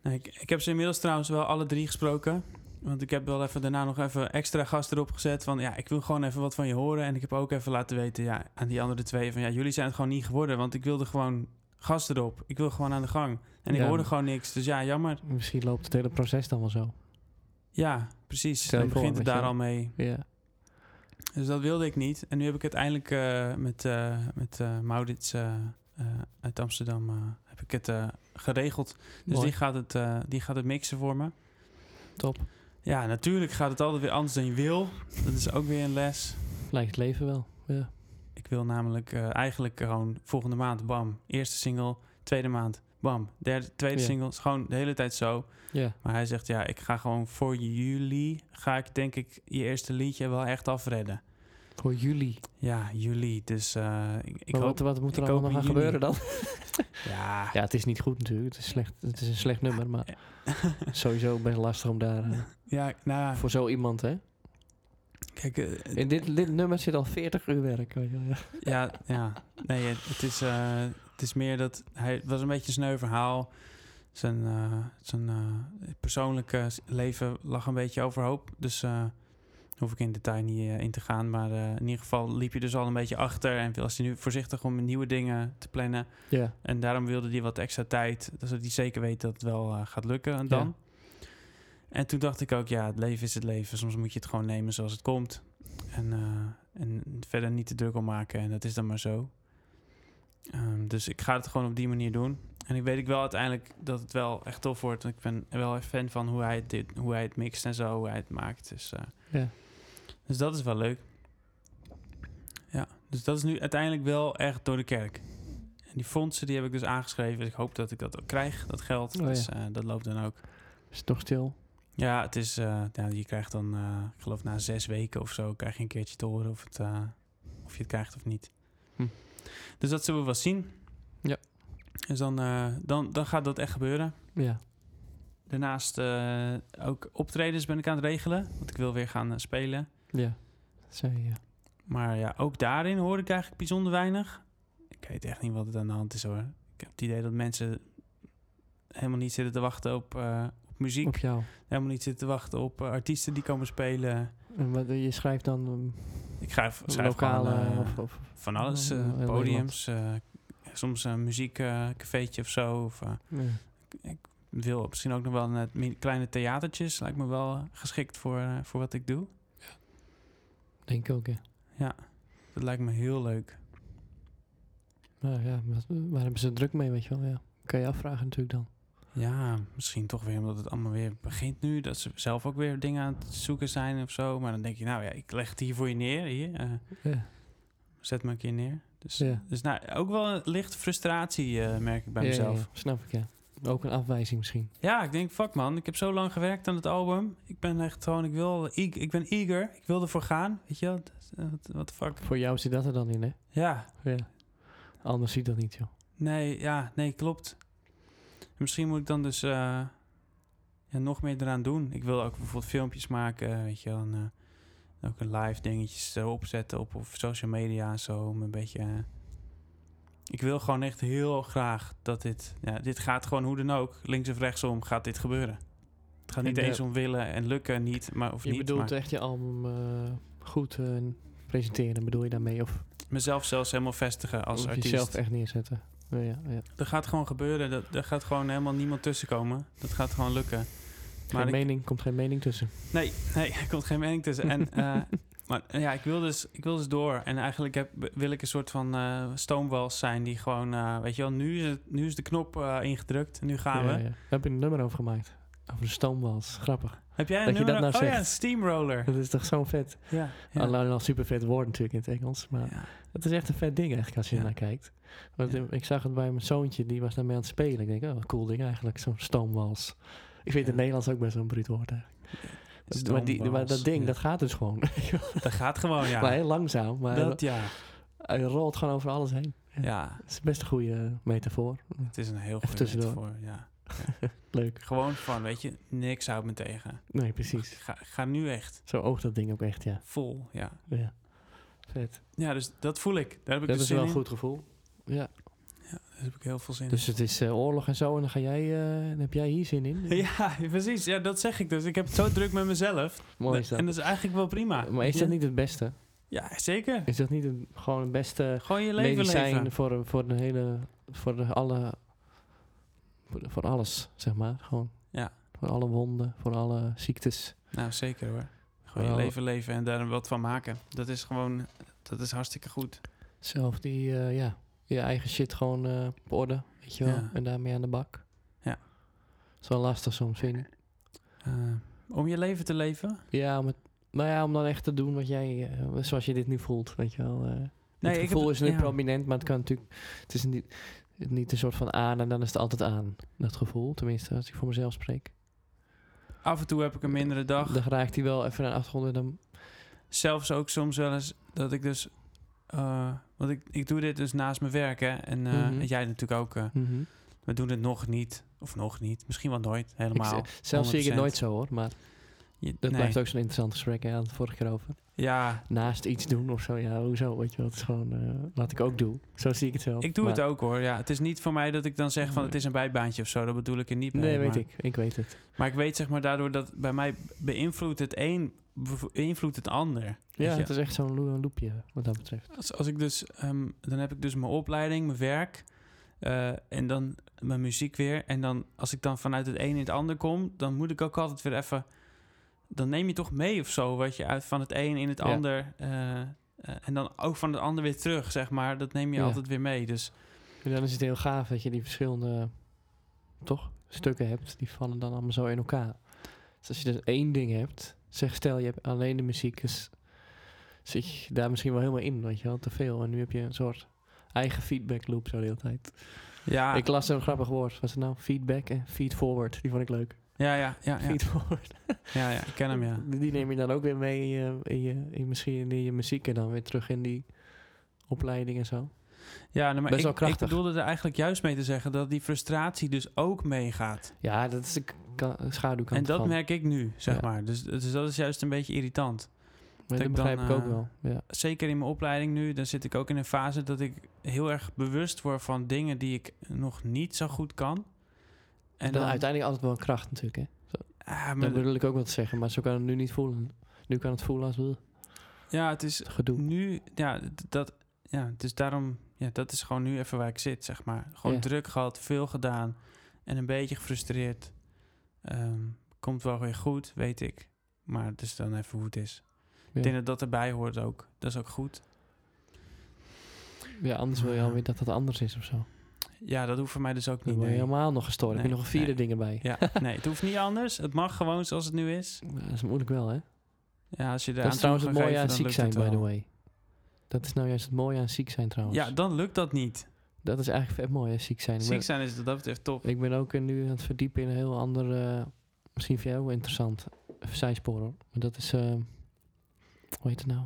nou, ik, ik heb ze inmiddels trouwens wel alle drie gesproken. Want ik heb wel even daarna nog even extra gast erop gezet. Van ja, ik wil gewoon even wat van je horen. En ik heb ook even laten weten ja, aan die andere twee van ja, jullie zijn het gewoon niet geworden. Want ik wilde gewoon gast erop. Ik wil gewoon aan de gang. En ik
Ja.
hoorde gewoon niks. Dus ja, jammer.
Misschien loopt het hele proces dan wel zo.
Ja, precies.
Stel je
Dan
voor,
begint het
weet
daar
je
al mee.
Ja.
Dus dat wilde ik niet. En nu heb ik uiteindelijk eh, met, eh met eh, Maurits eh, eh, uit Amsterdam eh, heb ik het eh, geregeld. Dus
Mooi.
die gaat, het, eh, die gaat het mixen voor me.
Top.
Ja, natuurlijk gaat het altijd weer anders dan je wil. Dat is ook weer een les.
Lijkt het leven wel. Ja.
Ik wil namelijk eh, eigenlijk gewoon volgende maand, bam. Eerste single, tweede maand, bam. Derde, tweede
Ja.
single. Het is gewoon de hele tijd zo.
Ja.
Maar hij zegt, ja, ik ga gewoon voor juli... ga ik denk ik je eerste liedje wel echt afredden.
Voor jullie.
Ja, juli. Dus eh, ik, ik
maar
hoop...
wat, wat moet er
ik
allemaal
hoop
gaan
in juni.
gebeuren dan?
Ja,
Ja, het is niet goed natuurlijk. Het is, slecht, het is een slecht nummer, maar sowieso best lastig om daar... eh,
ja nou,
voor zo iemand, hè?
kijk, eh,
In dit, dit nummer zit al 40 uur werk. weet je wel, ja.
Ja, ja. Nee, het, het is, eh, het is meer dat hij het was een beetje een sneu verhaal. Zijn, eh, zijn eh, persoonlijke s- leven lag een beetje overhoop. Dus eh hoef ik in detail niet eh, in te gaan. Maar eh, in ieder geval liep je dus al een beetje achter. En was hij nu voorzichtig om nieuwe dingen te plannen.
Ja.
En daarom wilde hij wat extra tijd. Zodat hij zeker weet dat het wel eh, gaat lukken en dan. En toen dacht ik ook, ja, het leven is het leven. Soms moet je het gewoon nemen zoals het komt. En, eh, en verder niet te druk om maken. En dat is dan maar zo. Ehm, dus ik ga het gewoon op die manier doen. En ik weet ik wel uiteindelijk dat het wel echt tof wordt. Want ik ben wel een fan van hoe hij het, dit, hoe hij het mixt en zo, hoe hij het maakt. Dus, eh,
Ja.
dus dat is wel leuk. Ja, dus dat is nu uiteindelijk wel echt door de kerk. En die fondsen die heb ik dus aangeschreven. Dus ik hoop dat ik dat ook krijg, dat geld.
Oh, ja.
dus eh, dat loopt dan ook.
Is het nog stil?
Ja, het is, eh, ja, je krijgt dan, eh, ik geloof na zes weken of zo, krijg je een keertje te horen of, het, eh, of je het krijgt of niet.
Hm.
Dus dat zullen we wel zien.
Ja.
Dus dan, eh, dan, dan gaat dat echt gebeuren.
Ja.
Daarnaast eh, ook optredens ben ik aan het regelen, want ik wil weer gaan eh, spelen.
Ja. eh, Zei je.
Maar ja, ook daarin hoor ik eigenlijk bijzonder weinig. Ik weet echt niet wat het aan de hand is hoor. Ik heb het idee dat mensen helemaal niet zitten te wachten op, eh, op muziek.
Op jou.
Helemaal niet zitten te wachten op eh, artiesten die komen spelen.
En wat, je schrijft dan ehm,
Ik schrijf, schrijf
lokale
gewoon, eh,
of, of
van alles.
eh,
eh,
heel
podiums, eh, soms een muziekcafeetje of zo. Of, eh,
ja.
wil misschien ook nog wel naar mi- kleine theatertjes. Lijkt me wel eh, geschikt voor, eh, voor wat ik doe.
denk ik ook, ja.
Dat lijkt me heel leuk.
Nou ja, wat- waar hebben ze druk mee, weet je wel? Ja. Kan je afvragen natuurlijk dan.
Ja, misschien toch weer omdat het allemaal weer begint nu. Dat ze zelf ook weer dingen aan het zoeken zijn of zo. Maar dan denk je, nou ja, ik leg het hier voor je neer. Hier, eh,
Ja.
zet me een keer neer. Dus,
Ja.
dus nou, ook wel een lichte frustratie eh, merk ik bij
Ja, ja,
mezelf. Ja,
ja, snap ik, ja. Ook een afwijzing misschien.
ik denk, fuck man, ik heb zo lang gewerkt aan het album. Ik ben echt gewoon, ik wil, ik, ik ben eager. Ik wil ervoor gaan, weet je wel. eh, Wat de fuck.
Voor jou zit dat er dan in, hè?
Ja,
Ja. Anders ziet dat niet, joh.
Nee, ja, nee, klopt. Misschien moet ik dan dus eh, ja, nog meer eraan doen. Ik wil ook bijvoorbeeld filmpjes maken, eh, weet je wel. En, eh, ook een live dingetjes eh, opzetten op, op social media en zo. Om een beetje... eh, ik wil gewoon echt heel graag dat dit... Ja, dit gaat gewoon hoe dan ook, links of rechtsom, gaat dit gebeuren. Het gaat
En
niet
de-
eens om willen en lukken niet, maar of
eh, Je
niet.
bedoelt
maar
echt je album eh, goed eh, presenteren, bedoel je daarmee? Of,
mezelf zelfs helemaal vestigen als
of
artiest.
eh, jezelf echt neerzetten? Ja, ja, ja.
Dat gaat gewoon gebeuren. Dat, er gaat gewoon helemaal niemand tussenkomen. Dat gaat gewoon lukken.
Geen
ik-
mening, komt geen mening tussen.
Nee, nee, er komt geen mening tussen. En, eh, maar eh, ja, ik wil, dus, ik wil dus door. En eigenlijk heb, wil ik een soort van eh stoomwals zijn die gewoon, eh, weet je wel, nu is, het, nu is de knop eh, ingedrukt. Nu gaan
Ja,
we.
ja. Daar heb je een nummer over gemaakt. Over de stoomwals. Grappig.
Heb jij een
Dat je
nummer?
dat nou
oh ja,
zegt.
een steamroller.
Dat is toch zo'n vet.
Ja, ja,
Alleen al super vet woord natuurlijk in het Engels. Maar
ja.
het is echt een vet ding eigenlijk als je
Ja.
ernaar kijkt. Want
Ja.
eh, ik zag het bij mijn zoontje, die was daarmee aan het spelen. Ik denk, oh, cool ding eigenlijk, zo'n stoomwals. Ik vind
Ja.
het Nederlands ook best wel een bruut woord eigenlijk. Maar, die, maar dat
Stoomwals,
ding,
ja.
dat gaat dus gewoon.
Dat gaat gewoon, ja.
Maar heel langzaam. Maar
dat ja.
hij rolt gewoon over alles heen.
Ja,
Het is best een goede eh, metafoor.
het is een heel
Even
goed
tussendoor.
voor. Ja.
Leuk.
Gewoon van, weet je, niks houdt me tegen.
Nee,
Ik
precies.
ga, ik ga nu echt
Zo oogt dat ding ook echt, ja.
vol, ja.
ja. Vet.
Ja, dus dat voel ik. Daar heb ik
Dat
dus
is
zin
wel een
in.
goed gevoel. Ja.
Daar heb ik heel veel zin in.
Dus het is eh, oorlog en zo en dan, ga jij, eh, dan heb jij hier zin in.
Ja, precies. Ja, dat zeg ik dus. Ik heb het zo druk met mezelf.
Mooi is dat.
En dat is eigenlijk wel prima.
maar is
Ja.
dat niet het beste?
Ja, zeker.
Is dat niet een, gewoon het beste
Gewoon je leven
medicijn
leven.
voor, voor de hele... Voor de alle... Voor, voor alles, zeg maar. Gewoon.
Ja.
Voor alle wonden, voor alle ziektes.
Nou, zeker hoor. Gewoon je
Wel-
leven leven en daar wat van maken. Dat is gewoon... Dat is hartstikke goed.
Zelf die, eh, ja, je eigen shit gewoon eh, op orde, weet je wel.
Ja.
En daarmee aan de bak.
Ja.
Dat is wel lastig soms, vind ik.
Eh, om je leven te leven?
Ja, om het, nou ja, om dan echt te doen wat jij, eh, zoals je dit nu voelt, weet je wel. eh. het gevoel is niet
ja.
prominent, maar het kan natuurlijk, het is niet, niet een soort van aan en dan is het altijd aan, dat gevoel. Tenminste, als ik voor mezelf spreek.
Af en toe heb ik een mindere dag.
Dan raakt hij wel even naar de achtergrond en dan,
Zelfs ook soms wel eens dat ik dus... eh, want ik, ik doe dit dus naast mijn werk, hè. En eh,
Mhm.
en jij natuurlijk ook. eh.
mhm.
we doen het nog niet. Of nog niet. Misschien wel nooit.
Ik
Helemaal.
z- zelf zie ik het
100%.
nooit zo hoor, maar
Je-
dat
nee.
blijft ook zo'n interessant gesprek, hè, hadden we het vorige keer over.
Ja,
naast iets doen of zo. Ja, hoezo? Weet je wel, het is gewoon eh, wat ik ook doe. Zo zie ik het wel.
Ik doe het
Maar-
ook hoor. Ja, het is niet voor mij dat ik dan zeg van
Nee.
het is een bijbaantje of zo. Dat bedoel ik er niet mee.
Nee, weet
maar,
ik. Ik weet het.
Maar ik weet zeg maar daardoor dat bij mij beïnvloedt het een bev- beïnvloedt het ander.
Ja,
Weet je?
het is echt zo'n loo- loopje wat dat betreft.
Als, als ik dus ehm, dan heb ik dus mijn opleiding, mijn werk eh, en dan mijn muziek weer. En dan als ik dan vanuit het een in het ander kom, dan moet ik ook altijd weer even. Dan neem je toch mee of zo wat je uit van het een in het
Ja.
ander eh, eh, en dan ook van het ander weer terug zeg maar. Dat neem je
Ja.
altijd weer mee. Dus
En dan is het heel gaaf dat je die verschillende, toch, stukken hebt. Die vallen dan allemaal zo in elkaar. Dus als je dus één ding hebt, zeg stel je hebt alleen de muziek, dus zit je daar misschien wel helemaal in, weet je wel, te veel. En nu heb je een soort eigen feedback loop zo de hele tijd.
ja,
Ik las een grappig woord. Was het nou feedback en feed forward? Die vond ik leuk.
ja, ja, ja, ja,
Feed forward.
ja, ja, ik ken hem ja.
Die neem je dan ook weer mee in je, in je, in misschien in je muziek en dan weer terug in die opleiding en zo.
Ja, nee, maar
Best
ik,
wel krachtig.
ik bedoelde er eigenlijk juist mee te zeggen dat die frustratie dus ook meegaat.
Ja, dat is de k- ka- schaduwkant
En dat
van.
merk ik nu, zeg
Ja.
maar. Dus, dus dat is juist een beetje irritant.
Maar
ik
dat
dan,
begrijp ik ook
eh,
wel. Ja.
Zeker in mijn opleiding nu, dan zit ik ook in een fase dat ik heel erg bewust word van dingen die ik nog niet zo goed kan.
En dan, uiteindelijk altijd wel een kracht natuurlijk. Hè.
Ah, maar-
Dat bedoel ik ook wel te zeggen, maar zo kan het nu niet voelen. Nu kan het voelen als wil
ja, het is
gedoe.
nu, ja, d- dat, ja, dus daarom, ja, dat is gewoon nu even waar ik zit, zeg maar. Gewoon
Ja.
druk gehad, veel gedaan en een beetje gefrustreerd. Ehm, komt wel weer goed, weet ik. Maar het is dan even hoe het is.
Ja.
Ik denk dat dat erbij hoort ook. Dat is ook goed.
Ja, anders wil je alweer dat dat anders is of zo.
Ja, dat hoeft voor mij dus ook
Dan
niet.
word je
nee.
helemaal nog gestoord. heb je
Nee,
nog een vierde
nee.
dingen bij.
Ja, nee, het hoeft niet anders. Het mag gewoon zoals het nu is.
Maar Dat is moeilijk wel, hè?
Ja, als je er
dat
aan
is trouwens
toe
het
gaat geven,
mooie aan
dan
ziek
lukt
zijn,
het
by the
wel.
way. Dat is nou juist het mooie aan ziek zijn, trouwens.
Ja, dan lukt dat niet.
Dat is eigenlijk vet mooi, hè, ziek zijn. Ik ben-
Ziek zijn is wat dat betreft top.
Ik ben ook eh, nu aan het verdiepen in een heel ander, eh, misschien voor jou ook wel interessant, zijspoor hoor. Maar dat is, eh, hoe heet het nou?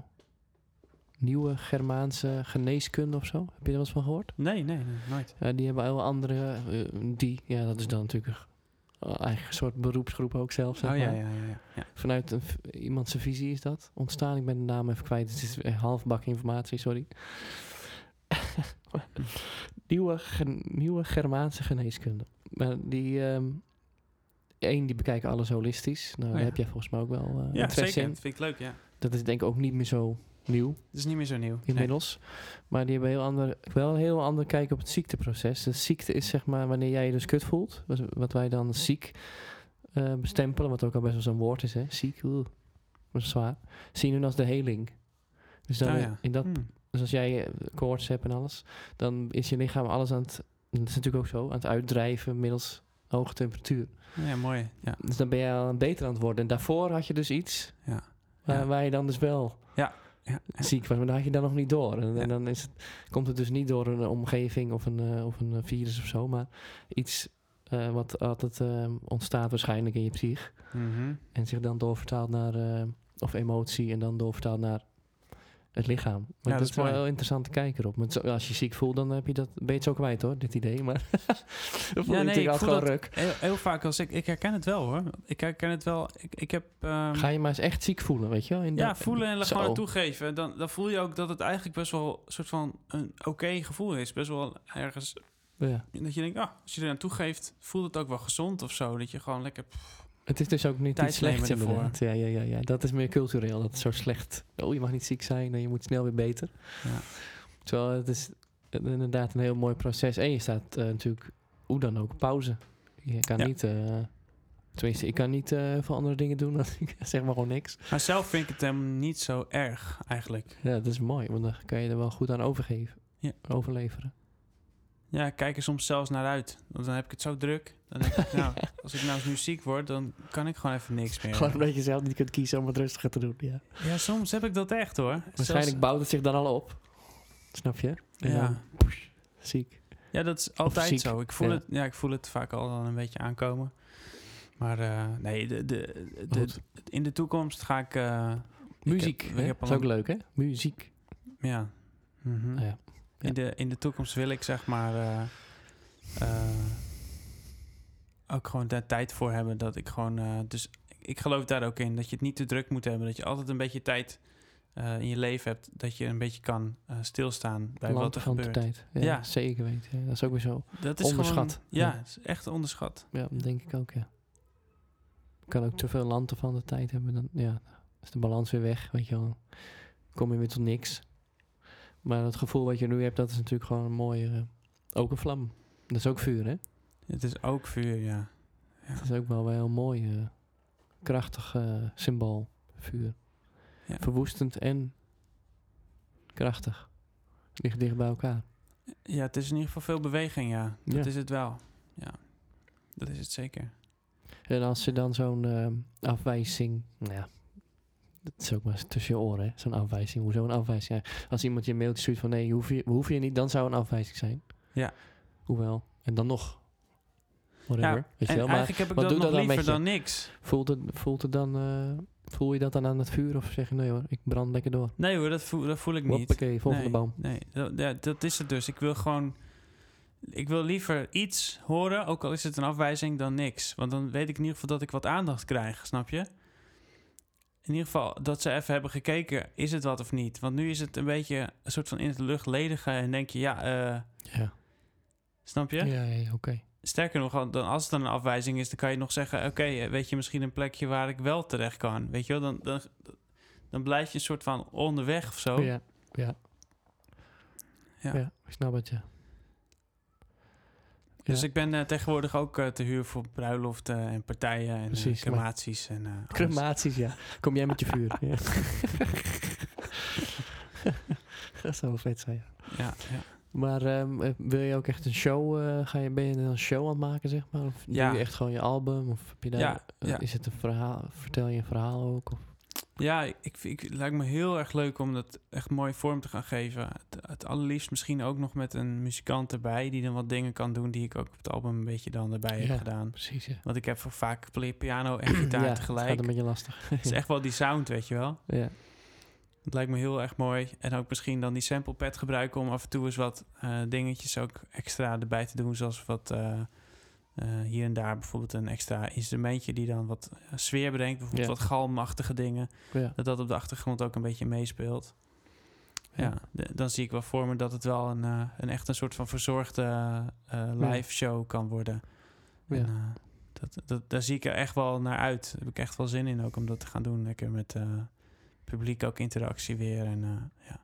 Nieuwe Germaanse geneeskunde of zo. Heb je er wel eens van gehoord?
Nee, nee, nee, nooit.
Eh, die hebben heel andere, eh, die, ja dat is dan natuurlijk een eh, eigen soort beroepsgroep ook zelf. Zeg
Oh ja,
maar.
ja, ja. ja. ja.
Vanuit een, v- iemand zijn visie is dat ontstaan. Ik ben de naam even kwijt. Het is echt halfbak informatie, sorry. nieuwe, gen- nieuwe Germaanse geneeskunde. Maar die... ehm één, die bekijken alles holistisch. Nou,
Oh
daar
ja.
heb jij volgens mij ook wel eh,
Ja,
interesse
zeker.
in.
Dat vind ik leuk, ja.
Dat is denk ik ook niet meer zo nieuw
Het is niet meer zo nieuw. Nee.
inmiddels. Maar die hebben heel ander, wel een heel ander kijk op het ziekteproces. De ziekte is zeg maar wanneer jij je dus kut voelt. wat- Wat wij dan ziek eh, bestempelen. Wat ook al best wel zo'n woord is. Hè? Ziek, oeh, dat is zwaar. Zien hun als de heling. Dus, dan
Oh ja.
in dat,
Hmm.
dus als jij eh, koorts hebt en alles. Dan is je lichaam alles aan het... Dat is natuurlijk ook zo. Aan het uitdrijven middels hoge temperatuur.
Ja, mooi. Ja.
Dus dan ben je al beter aan het worden. En daarvoor had je dus iets
Ja.
waar,
Ja.
waar je dan dus wel
Ja. Ja.
ziek was. Maar dan had je dan nog niet door. En, en
Ja.
dan is het, komt het dus niet door een omgeving of een, eh, of een eh, virus of zo. Maar iets eh, wat altijd eh, ontstaat waarschijnlijk in je psych.
Mhm.
En zich dan doorvertaalt naar... eh, of emotie en dan doorvertaalt naar het lichaam. Maar dat,
dat is
is wel
mooi.
heel interessant te kijken op. Maar het is- als je ziek voelt, dan heb je dat, ben je het zo kwijt hoor, dit idee. Maar dan voel
nee,
je natuurlijk
ik
altijd
voel
gewoon
dat-
ruk.
Heel, heel vaak als ik... Ik herken het wel, hoor. Ik herken het wel. Ik, ik heb... ehm,
Ga je maar eens echt ziek voelen, weet je wel? in
ja,
dat-
voelen en
Zo.
gewoon toegeven. Dan, dan voel je ook dat het eigenlijk best wel een soort van een oké gevoel is. Best wel ergens...
Ja.
Dat je denkt, ah, als je er aan toegeeft, voelt het ook wel gezond of zo. Dat je gewoon lekker...
Het is dus ook niet
Tijd
iets slechts
nemen ervoor.
inderdaad. Ja, ja, ja, ja. Dat is meer cultureel. Dat is zo slecht. Oh, je mag niet ziek zijn en je moet snel weer beter.
Ja.
Terwijl het is inderdaad een heel mooi proces. En je staat eh, natuurlijk hoe dan ook op pauze. Je kan
Ja.
niet... eh, tenminste, ik kan niet eh, heel veel andere dingen doen dan ik zeg maar gewoon niks.
Maar zelf vind ik het hem niet zo erg, eigenlijk.
Ja, dat is mooi. Want dan kan je er wel goed aan overgeven.
Ja.
Overleveren.
Ja, ik kijk er soms zelfs naar uit. Want dan heb ik het zo druk. Dan denk ik, nou, als ik nou eens nu ziek word, dan kan ik gewoon even niks meer.
Gewoon omdat je zelf niet kunt kiezen om het rustiger te doen. Ja.
Ja, soms heb ik dat echt hoor.
Waarschijnlijk bouwt het zich dan al op. Snap je? En
Zelfs-
dan
ja.
ziek.
ja, dat is altijd
ziek,
zo. Ik voel,
ja.
Het, ja, ik voel het vaak al dan een beetje aankomen. Maar eh, nee, de, de, de-
Goed.
in de toekomst ga ik. eh,
Muziek.
Ik heb-
hè?
ik heb al
is ook
een-
leuk, hè? Muziek.
ja. Mhm.
Ah, ja. Ja.
In, de, in de toekomst wil ik zeg maar. eh, eh, ook gewoon daar tijd voor hebben dat ik gewoon. eh, dus ik- ik geloof daar ook in dat je het niet te druk moet hebben. Dat je altijd een beetje tijd eh, in je leven hebt. Dat je een beetje kan eh, stilstaan bij wat er
Lanterfante
gebeurt.
tijd. Ja,
Ja.
Zeker weten. Ja, dat is ook weer zo.
Dat is
Onderschat.
Gewoon, ja,
Ja.
het is echt onderschat.
Ja, dat denk ik ook, ja. Kan ook te veel landen van de tijd hebben. Dan ja, is de balans weer weg, weet je wel. Kom je weer tot niks. Maar het gevoel wat je nu hebt, dat is natuurlijk gewoon een mooie... eh, ook een vlam. Dat is ook vuur, hè?
Het is ook vuur, ja.
Dat is ook wel wel een heel mooi, eh, krachtig eh, symbool. Vuur.
Ja.
Verwoestend en krachtig. Ligt dicht bij elkaar.
Ja, het is in ieder geval veel beweging, ja. Dat
Ja.
is het wel. Ja, dat is het zeker.
En als ze dan zo'n ehm, afwijzing. Nou ja, dat is ook maar eens tussen je oren, hè? Zo'n afwijzing. Hoezo een afwijzing? Ja, Als iemand je een mailtje stuurt van nee, hoef je, hoef je niet, dan zou een afwijzing zijn.
Ja.
Hoewel. En dan nog. Whatever.
ja,
weet je
en
wel, maar
eigenlijk heb ik
wat
dat
doet
nog
dat dan
liever
met je?
dan niks.
voelt het, voelt het dan. eh, voel je dat dan aan het vuur of zeg je nee hoor, ik brand lekker door?
Nee hoor, dat voel, dat voel ik niet.
Hoppakee, volgende
nee,
boom.
Nee, dat, ja, dat is het dus. Ik wil gewoon... Ik wil liever iets horen, ook al is het een afwijzing, dan niks. Want dan weet ik in ieder geval dat ik wat aandacht krijg, snap je? In ieder geval dat ze even hebben gekeken, is het wat of niet? Want nu is het een beetje een soort van in het lucht ledigen en denk je, ja, eh,
Ja,
snap je?
ja, ja, ja, oké.
Sterker nog, al- dan, als het dan een afwijzing is, dan kan je nog zeggen: Oké, eh, weet je misschien een plekje waar ik wel terecht kan? Weet je wel, dan, dan, dan blijf je een soort van onderweg of zo.
Ja, ja.
Oh. Ja.
Ja, ik snap het, ja.
Dus
ja.
ik ben eh, tegenwoordig ook eh, te huur voor bruiloften en partijen en eh,
Precies, maar-
crematies. En, eh, alles.
Crematies, ja. Kom jij met je vuur. Ja. dat zou wel vet zijn, ja.
Ja, ja.
Maar ehm, eh, wil je ook echt een show, eh, ga je, ben je dan een show aan het maken, zeg maar? Of
Ja.
doe je echt gewoon je album? Of heb je daar,
Ja,
eh,
ja.
is het een verhaal, vertel je een verhaal ook? Of,
Ja, ik, ik, het lijkt me heel erg leuk om dat echt mooi vorm te gaan geven. Het, het allerliefst misschien ook nog met een muzikant erbij... die dan wat dingen kan doen die ik ook op het album een beetje dan erbij
Ja.
heb gedaan.
precies, ja.
Want ik heb voor vaak pl- piano en gitaar
ja, Het gaat
tegelijk.
een beetje lastig.
Het is echt wel die sound, weet je wel.
ja.
Het lijkt me heel erg mooi. En ook misschien dan die sample pad gebruiken om af en toe eens wat eh, dingetjes ook extra erbij te doen. Zoals wat eh, eh, hier en daar bijvoorbeeld een extra instrumentje die dan wat eh, sfeer brengt. Bijvoorbeeld
Ja.
wat galmachtige dingen.
ja.
Dat dat op de achtergrond ook een beetje meespeelt. Ja,
Ja.
d- dan zie ik wel voor me dat het wel een, eh, een echt een soort van verzorgde eh, live show kan worden.
Ja.
En, eh, dat, dat, daar zie ik er echt wel naar uit. Daar heb ik echt wel zin in ook om dat te gaan doen. Lekker met eh, publiek ook interactie weer. En, eh, ja.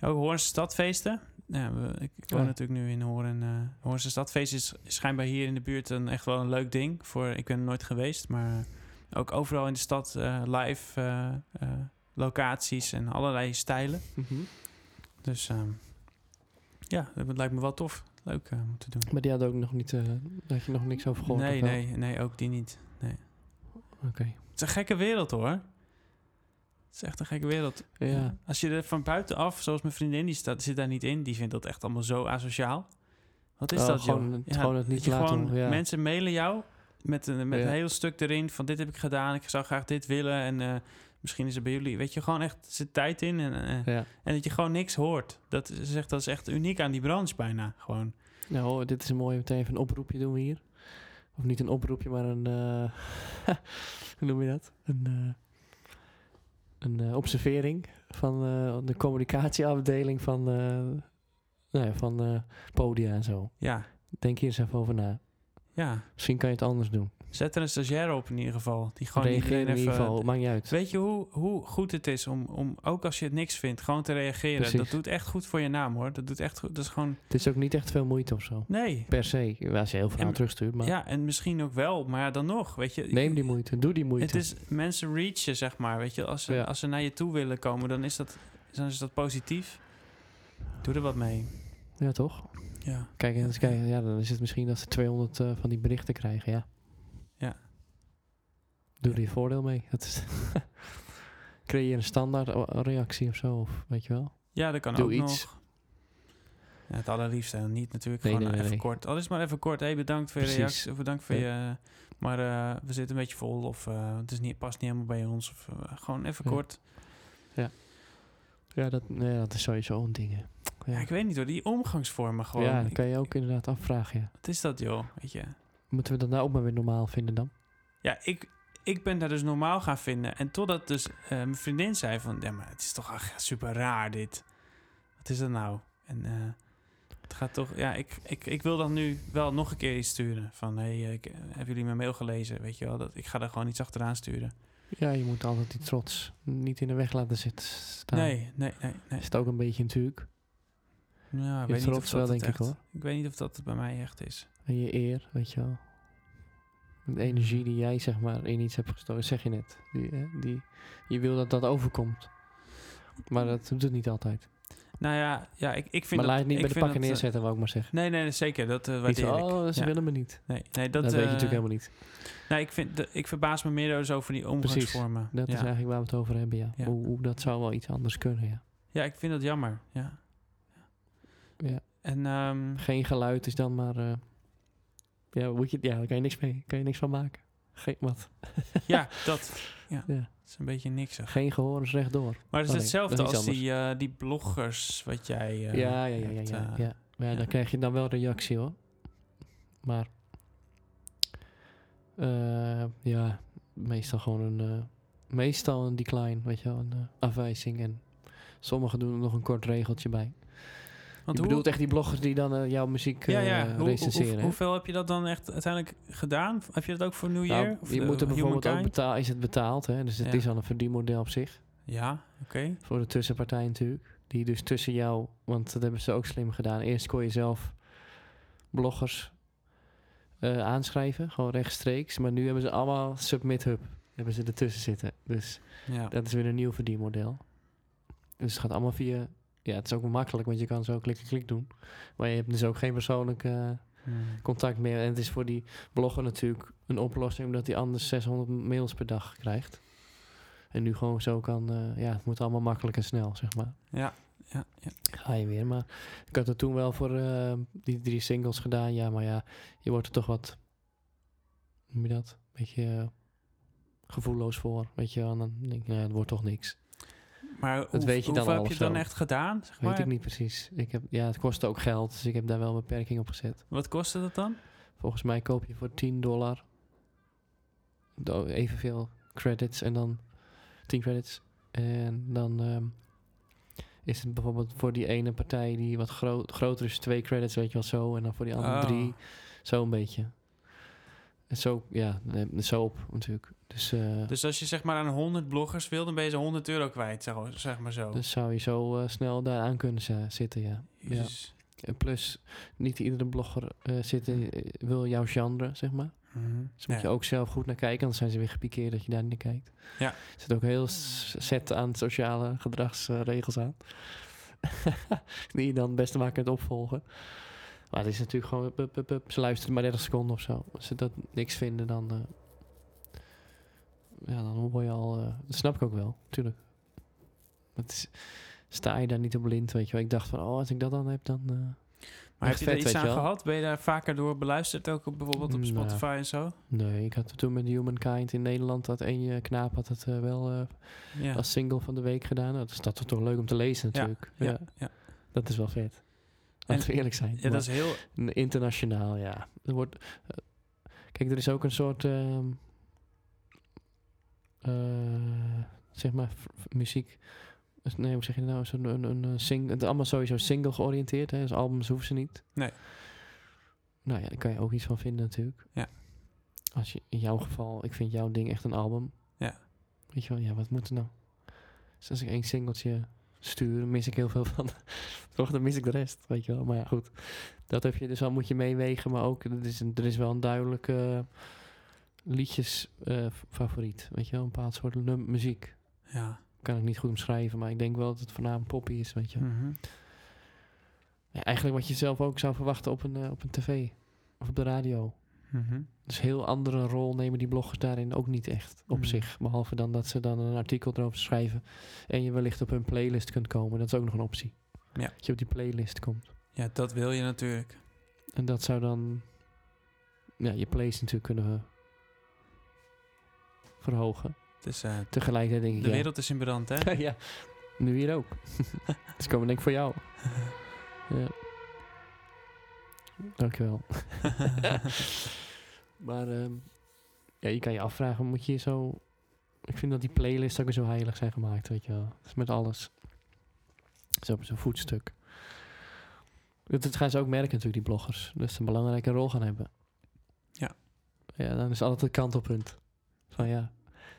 Ja, Ook Hoornse Stadfeesten. Ja, we- ik, ik woon
Ja.
natuurlijk nu in Hoorn. eh Hoornse Stadfeest is schijnbaar hier in de buurt een, echt wel een leuk ding. Voor, ik ben er nooit geweest, maar ook overal in de stad eh, live eh, eh, locaties en allerlei stijlen.
Mhm.
Dus ehm, ja, dat lijkt me wel tof. Leuk eh, om te doen.
Maar die had ook nog niet, eh, daar had je nog niks over gehoord?
nee,
of wel?
nee, nee, ook die niet. Nee.
Oké.
Het is een gekke wereld hoor. Het is echt een gekke wereld.
Ja.
Als je er van buitenaf, zoals mijn vriendin, die staat, zit daar niet in, die vindt dat echt allemaal zo asociaal. Wat is
Oh,
dat,
gewoon
joh?
het- gewoon het
dat
niet
je
laten
gewoon-
horen, ja.
Mensen mailen jou met, een, met
Ja.
een heel stuk erin van dit heb ik gedaan, ik zou graag dit willen en eh, misschien is het bij jullie. Weet je, gewoon echt, er zit tijd in en, eh,
Ja.
en dat je gewoon niks hoort. Dat is, echt, dat is echt uniek aan die branche bijna, gewoon.
Nou, hoor, dit is een mooie meteen even een oproepje doen we hier. Of niet een oproepje, maar een. eh, hoe noem je dat? Een, eh, een eh, observering van eh, de communicatieafdeling van, eh, nou ja, van eh, podia en zo.
Ja,
Denk hier eens even over na.
ja.
Misschien kan je het anders doen.
Zet er een stagiair op in ieder geval. Die gewoon
Reageer
iedereen
in ieder
even-
geval, maakt niet uit.
Weet je hoe, hoe goed het is om, om, ook als je het niks vindt, gewoon te reageren?
Precies.
Dat doet echt goed voor je naam hoor. Dat doet echt goed. Dat is gewoon.
Het is ook niet echt veel moeite of zo.
Nee.
Per se. Als je heel veel
En-
aan terugstuurt, maar
Ja, en misschien ook wel, maar ja, dan nog. Weet je,
neem die moeite. Doe die moeite.
Het is mensen reachen, zeg maar. Weet je, als ze,
Ja.
als ze naar je toe willen komen, dan is, dat, dan is dat positief. Doe er wat mee.
Ja, toch?
Ja.
Kijk, en eens kijken, ja, dan is het misschien dat ze 200 eh, van die berichten krijgen, ja.
Ja.
Doe er je voordeel mee. Dat is Creëer een standaard o- reactie of zo, of weet je wel.
Ja, dat kan
Doe
ook
iets.
nog. Ja, het allerliefste en niet natuurlijk.
Nee,
gewoon eh,
nee, nee,
even
nee.
kort. Al is het maar even kort. Hey, bedankt voor je
Precies.
reactie. of Bedankt voor je... Maar eh, we zitten een beetje vol. Of eh, het is niet, past niet helemaal bij ons. Of, eh, gewoon even
Ja.
kort.
Ja, dat, nee, dat is sowieso een ding, hè.
Ja,
Ja,
ik weet niet hoor. Die omgangsvormen gewoon.
ja dat
Ik-
kan je ook inderdaad afvragen, ja.
wat is dat joh? Weet je.
Moeten we dat nou ook maar weer normaal vinden dan?
Ja, ik, ik ben daar dus normaal gaan vinden. En totdat dus eh, mijn vriendin zei van... Ja, maar het is toch echt super raar dit. Wat is dat nou? En eh, het gaat toch... Ja, ik, ik, ik wil dan nu wel nog een keer iets sturen. Van, hé, hey, eh, ik- eh, hebben jullie mijn mail gelezen? Weet je wel, dat, ik ga daar gewoon iets achteraan sturen.
Ja, je moet altijd die trots niet in de weg laten zitten staan.
Nee, nee, nee, nee.
Is het ook een beetje natuurlijk.
Ja, ik
Je
weet niet of
trots wel,
dat het
denk ik,
echt...
hoor.
Ik weet niet of dat het bij mij echt is.
En je eer, weet je wel. De energie die jij zeg maar in iets hebt gestoken, zeg je net. Die, hè, die, je wil dat dat overkomt. Maar dat doet het niet altijd.
Nou ja, ja ik, ik vind
maar
dat...
laat het niet
ik
bij de
vind
pakken
dat, eh,
neerzetten, wou ik maar zeggen.
Nee, nee, nee, zeker. Dat eh
Niet
waardeer
van,
ik.
oh, ze
Ja.
willen me niet.
Nee, nee, dat,
Dat, weet je
eh,
natuurlijk helemaal niet.
Nee, Nou, ik, vind, dat- ik verbaas me meer dus over die omgangsvormen.
Dat
ja.
is eigenlijk waar we het over hebben, ja.
Ja.
Hoe, hoe dat zou wel iets anders kunnen, ja.
Ja, ik vind dat jammer. Ja.
Ja.
En ehm,
Geen geluid is dan maar... eh, ja, moet je, ja, daar kan je niks mee. Kan je niks van maken. Geen, wat?
ja, dat ja.
Ja.
is een beetje niksig.
Geen gehoor is rechtdoor.
Maar het is
Oh nee,
hetzelfde
dat is
als
iets
die, eh, die bloggers wat jij eh,
Ja, ja, ja, ja.
hebt,
ja,
eh,
ja. Maar ja,
ja.
dan krijg je dan wel reactie hoor. Maar eh, ja, meestal gewoon een, eh, meestal een decline, weet je wel, een eh, afwijzing. En sommigen doen er nog een kort regeltje bij.
Want
je
hoe,
bedoelt echt die bloggers die dan eh, jouw muziek eh
ja, ja. hoe- hoe-
recenseren. hè?
hoeveel heb je dat dan echt uiteindelijk gedaan? Heb je dat ook voor New
Nou,
Year? of
je
de-
moet er bijvoorbeeld ook
Humankind?
betalen, is het betaald, hè? dus het
Ja.
is al een verdienmodel op zich.
Ja, oké.
Voor de tussenpartij natuurlijk. Die dus tussen jou, want dat hebben ze ook slim gedaan. Eerst kon je zelf bloggers eh, aanschrijven, gewoon rechtstreeks. Maar nu hebben ze allemaal submit-hub, hebben ze ertussen zitten. Dus
Ja.
dat is weer een nieuw verdienmodel. Dus het gaat allemaal via ja, het is ook wel makkelijk, want je kan zo klik-klik doen. Maar je hebt dus ook geen persoonlijk eh,
Hmm.
contact meer. En het is voor die blogger natuurlijk een oplossing, omdat hij anders 600 mails per dag krijgt. En nu gewoon zo kan, eh, ja, het moet allemaal makkelijk en snel, zeg maar.
Ja, ja, ja.
Ga je weer, maar ik had het toen wel voor eh, die drie singles gedaan. Ja, maar ja, je wordt er toch wat, hoe noem je dat? Beetje eh, gevoelloos voor, weet je wel. En dan denk je, nou, het wordt toch niks.
Maar hoe,
weet je dan
hoeveel
al
heb
of
je dan
zo.
echt gedaan? Zeg
Weet
maar?
ik niet precies. Ik heb, ja, het kostte ook geld, dus ik heb daar wel een beperking op gezet.
Wat kostte dat dan?
Volgens mij koop je voor 10 dollar do- evenveel credits en dan 10 credits. En dan ehm, is het bijvoorbeeld voor die ene partij die wat gro- groter is, twee credits, weet je wel zo. En dan voor die andere
Oh.
drie, zo een beetje. En zo, ja, eh, zo op natuurlijk. Dus, eh,
Dus als je zeg maar aan 100 bloggers wil, dan ben je zo'n 100 euro kwijt, zeg, zeg maar zo.
dus zou je zo eh, snel daaraan kunnen zi- zitten, ja.
Jezus.
En plus, niet iedere blogger eh, zit in- eh, wil jouw genre, zeg maar.
Mhm.
Dus moet
Ja.
je ook zelf goed naar kijken, anders zijn ze weer gepikeerd dat je daar niet naar kijkt.
Ja.
Er zit ook een heel s- set aan sociale gedragsregels aan. Die je dan het beste maar kunt opvolgen. Maar het is natuurlijk gewoon, hup, hup, hup, hup, ze luisteren maar 30 seconden of zo. Als ze dat niks vinden, dan, eh, ja, dan hoor je al, eh, dat snap ik ook wel, tuurlijk. Het is, sta je daar niet op blind, weet je wel. Ik dacht van, oh, als ik dat dan heb, dan... eh,
Maar heb
Echt
je er
vet,
iets
weet
aan
je wel.
gehad? Ben je daar vaker door beluisterd, ook op, bijvoorbeeld op
Nou.
Spotify en zo?
Nee, ik had toen met Humankind in Nederland, dat één eh, knaap had het eh, wel eh,
Ja.
als single van de week gedaan. Dat is dat toch toch leuk om te lezen natuurlijk. Ja,
ja, ja.
dat is wel vet. Laten we eerlijk zijn.
Ja, dat is heel...
maar Internationaal, ja. Er wordt, eh, kijk, er is ook een soort, ehm, eh, zeg maar, v- v- muziek. Nee, hoe zeg je dat nou? Zo'n, een, een, een sing, het is allemaal sowieso single georiënteerd. Hè? Dus albums hoeven ze niet.
Nee.
Nou ja, daar kan je ook iets van vinden natuurlijk.
Ja.
Als je, in jouw geval, ik vind jouw ding echt een album.
Ja.
Weet je wel, ja, wat moet er nou? Dus als ik één singeltje stuur, mis ik heel veel van. Toch, dan mis ik de rest, weet je wel. Maar ja, goed. Dat heb je dus al, moet je meewegen. Maar ook, er is, een- er is wel een duidelijke liedjesfavoriet. favoriet weet je wel, een bepaald soort num- muziek.
Ja.
Kan ik niet goed omschrijven, maar ik denk wel dat het voornamelijk poppy is, weet je wel.
Mhm.
Ja, eigenlijk wat je zelf ook zou verwachten op een, eh, op een tv of op de radio.
Mhm.
Dus heel andere rol nemen die bloggers daarin ook niet echt op
Mm.
zich. Behalve dan dat ze dan een artikel erover schrijven en je wellicht op hun playlist kunt komen. Dat is ook nog een optie.
Ja.
Dat je op die playlist komt.
Ja, dat wil je natuurlijk.
En dat zou dan ja, je plays natuurlijk kunnen eh, verhogen.
Dus eh,
Tegelijkertijd denk ik,
de
ja.
wereld is in brand, hè?
ja, nu hier ook. dus komen denk ik voor jou. ja. Dankjewel. maar ehm, ja, je kan je afvragen, moet je zo... Ik vind dat die playlists ook weer zo heilig zijn gemaakt, weet je wel. Dat is met alles. Zo op zo'n voetstuk. Dat, dat gaan ze ook merken natuurlijk, die bloggers. Dat ze een belangrijke rol gaan hebben.
Ja.
Ja, dan is altijd het kantelpunt. Van ja,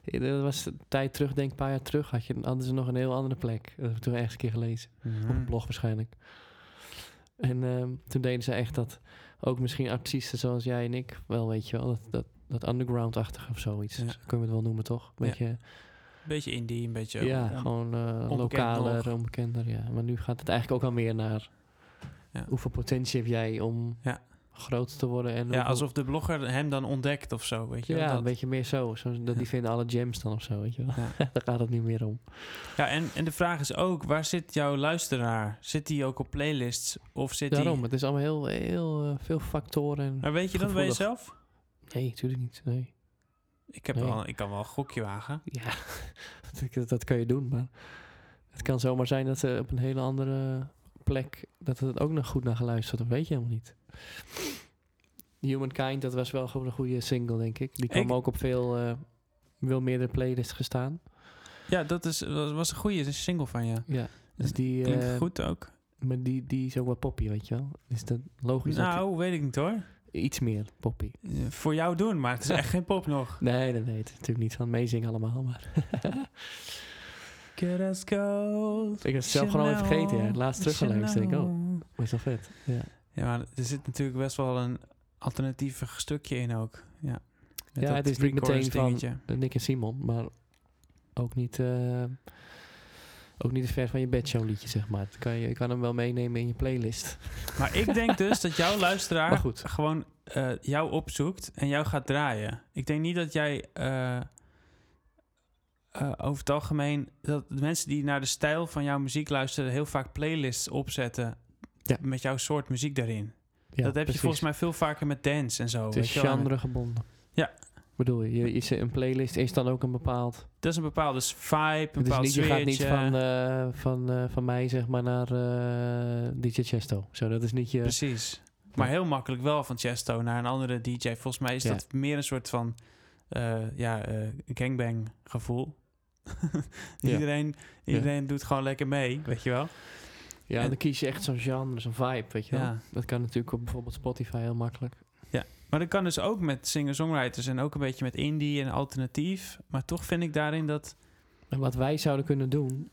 ja, Dat was een tijd terug, denk ik, een paar jaar terug. Had je hadden ze nog een heel andere plek. Dat heb ik toen ergens een keer gelezen. Op een
Mhm.
blog waarschijnlijk. En ehm, toen deden ze echt dat. Ook misschien artiesten zoals jij en ik. Wel, weet je wel. Dat, dat, dat underground-achtige of zoiets.
Ja.
Zo Kunnen we het wel noemen, toch? Beetje,
Beetje indie, een beetje...
ja, gewoon eh,
onbekend
lokaler,
nog.
onbekender. Ja. Maar nu gaat het eigenlijk ook al meer naar...
Ja.
Hoeveel potentie heb jij om
Ja.
groot te worden? En
Ja,
hoeveel-
alsof de blogger hem dan ontdekt of zo, weet je wel,
Ja,
dat.
een beetje meer zo. zo dat die vinden alle gems dan of zo, weet je wel.
Ja.
Daar gaat het niet meer om.
Ja, en, en de vraag is ook, waar zit jouw luisteraar? Zit die ook op playlists? Of zit die...
Daarom, het is allemaal heel, heel eh, veel factoren. en-
Maar weet je dat bij
Gevoelig.
jezelf?
Nee, natuurlijk niet. Nee.
Ik, heb
Nee.
wel, ik kan wel een gokje wagen.
Ja, dat, dat kan je doen, maar het kan zomaar zijn dat ze op een hele andere plek, dat het ook nog goed naar geluisterd wordt. Dat weet je helemaal niet. Humankind, dat was wel gewoon een goede single, denk ik. Die kwam
Ik-
ook op veel, eh veel meerdere playlists gestaan.
Ja, dat, is, dat was een goede single van je.
Ja, dus die,
Klinkt
eh,
goed ook.
Maar die, die is ook wel poppy, weet je wel. Is dat logisch? dat
Nou, weet ik niet hoor.
die- iets meer poppy.
Eh, Voor jou doen, maar het is echt geen pop nog.
Nee, nee, nee. Het is natuurlijk niet van meezingen allemaal, maar...
Get us cold.
Ik heb het zelf gewoon even vergeten, ja. Laatst teruggeluisterd. Ik denk, oh, dat is wel vet. Ja,
Ja, maar er zit natuurlijk best wel een alternatief stukje in ook. Ja, Met
Ja,
dat
het is niet
pre-chorus
meteen van-
dingetje.
Nick en Simon, maar ook niet eh, ook niet te ver van je bedshow liedje, zeg maar. Het kan je, je kan hem wel meenemen in je playlist.
Maar ik denk dus dat jouw
Maar
luisteraar
goed.
gewoon eh, jou opzoekt en jou gaat draaien. Ik denk niet dat jij eh, eh, over het algemeen... dat de mensen die naar de stijl van jouw muziek luisteren... heel vaak playlists opzetten
Ja.
met jouw soort muziek daarin.
Ja,
dat heb
precies.
je volgens mij veel vaker met dance en zo.
Het
weet
is
je wel. En
genre gebonden.
Ja.
Bedoel je, je, is een playlist is dan ook een bepaald...
Dat is een bepaalde s- vibe, een
Het is
bepaald
niet, je gaat niet
sfeertje.
van, eh, van, eh, van mij, zeg maar, naar eh, DJ Chesto. Zo, dat is niet je...
Precies. Maar heel makkelijk wel van Chesto naar een andere DJ. Volgens mij is
Ja.
dat meer een soort van eh, ja, eh, gangbang gevoel.
Ja.
iedereen
Ja.
iedereen doet gewoon lekker mee, weet je wel.
Ja,
En-
dan kies je echt zo'n genre, zo'n vibe, weet je wel.
Ja.
Dat kan natuurlijk op bijvoorbeeld Spotify heel makkelijk.
Maar dat kan dus ook met singer-songwriters en ook een beetje met indie en alternatief. Maar toch vind ik daarin dat...
En wat wij zouden kunnen doen,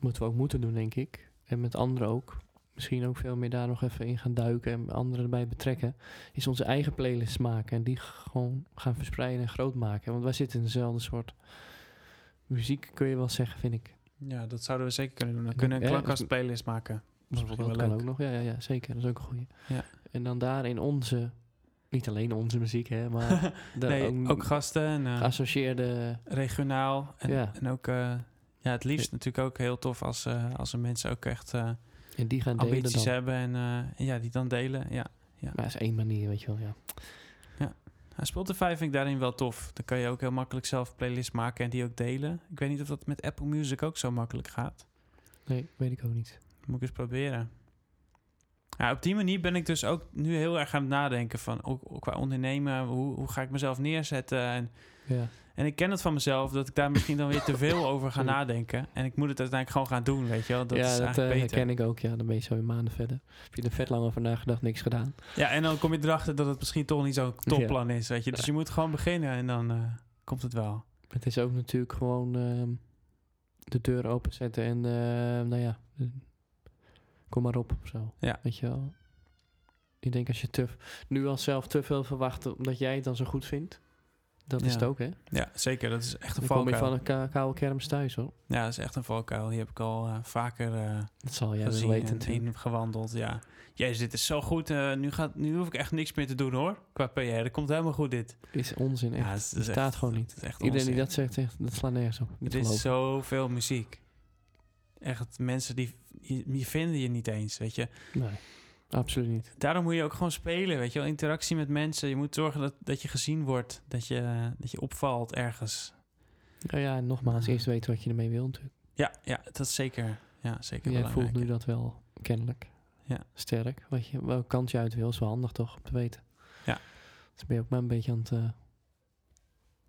moeten we ook moeten doen, denk ik. En met anderen ook. Misschien ook veel meer daar nog even in gaan duiken en anderen erbij betrekken. Is onze eigen playlists maken en die g- gewoon gaan verspreiden en groot maken. Want wij zitten in dezelfde soort muziek, kun je wel zeggen, vind ik.
Ja, dat zouden we zeker kunnen doen. We kunnen een
Ja,
klankkast
dat-
playlist maken.
Dat
wel
kan
leuk.
ook nog, ja, ja, ja, zeker. Dat is ook een goeie.
Ja.
En dan daarin onze, niet alleen onze muziek, hè, maar de,
nee, ook, gasten en eh,
geassocieerde...
regionaal. En,
Ja.
en ook... eh, ja, het liefst natuurlijk ook heel tof als, eh, als er mensen ook echt... eh,
En die gaan delen
ambities
dan.
hebben en eh, en ja, die dan delen. Ja.
Maar dat is één manier, weet je wel, ja.
Nou, Spotify vind ik daarin wel tof. Dan kan je ook heel makkelijk zelf playlists maken en die ook delen. Ik weet niet of dat met Apple Music ook zo makkelijk gaat.
Nee, weet ik ook niet.
Moet ik eens proberen. Ja, op die manier ben ik dus ook nu heel erg aan het nadenken van ook, ook qua ondernemen, hoe, hoe ga ik mezelf neerzetten? En,
Ja.
en ik ken het van mezelf dat ik daar misschien dan weer te veel over ga
Sorry.
nadenken. En ik moet het uiteindelijk gewoon gaan doen, weet je wel. Dat
ja,
is
dat
eigenlijk
eh,
beter.
ken ik ook. Ja, dan ben je zo in maanden verder. Heb je er vet lang over nagedacht, niks gedaan.
Ja, en dan kom je erachter dat het misschien toch niet zo'n topplan is, weet je. Dus
Ja.
je moet gewoon beginnen en dan eh, komt het wel.
Het is ook natuurlijk gewoon ehm, de deur openzetten en, eh, nou ja, eh, kom maar op of zo.
Ja.
Weet je wel. Ik denk als je te, nu al zelf te veel verwacht omdat jij het dan zo goed vindt. Dat
Ja.
is het ook, hè?
Ja, zeker. Dat is echt een
Dan kom je
valkuil.
van een ka- koude kermis thuis, hoor.
Ja, dat is echt een valkuil. Die heb ik al eh, vaker eh,
Dat zal jij wel
gezien
weten
en
natuurlijk.
ingewandeld. Ja. Jezus, dit is zo goed. eh, nu, gaat, nu hoef ik echt niks meer te doen hoor. Qua PR. Dat komt helemaal goed dit.
is onzin, echt.
ja, het is- het is
bestaat
echt-
gewoon niet.
het is echt
Iedereen die
onzin.
dat zegt, echt, dat slaat nergens op. Niet
Er is
geloven.
zoveel muziek. Echt mensen die, die, die vinden je niet eens, weet je.
Nee, absoluut niet.
Daarom moet je ook gewoon spelen, weet je wel. Interactie met mensen. Je moet zorgen dat, dat je gezien wordt. Dat je, dat je opvalt ergens.
Nou ja, en nogmaals, eerst weten wat je ermee wil natuurlijk.
Ja, ja dat is zeker, ja, zeker
Jij
belangrijk.
voelt nu dat wel, kennelijk.
Ja.
Sterk. Wat je, welke kant je uit wil, is wel handig toch, om te weten.
Ja.
Dus ben je ook maar een beetje aan het... eh,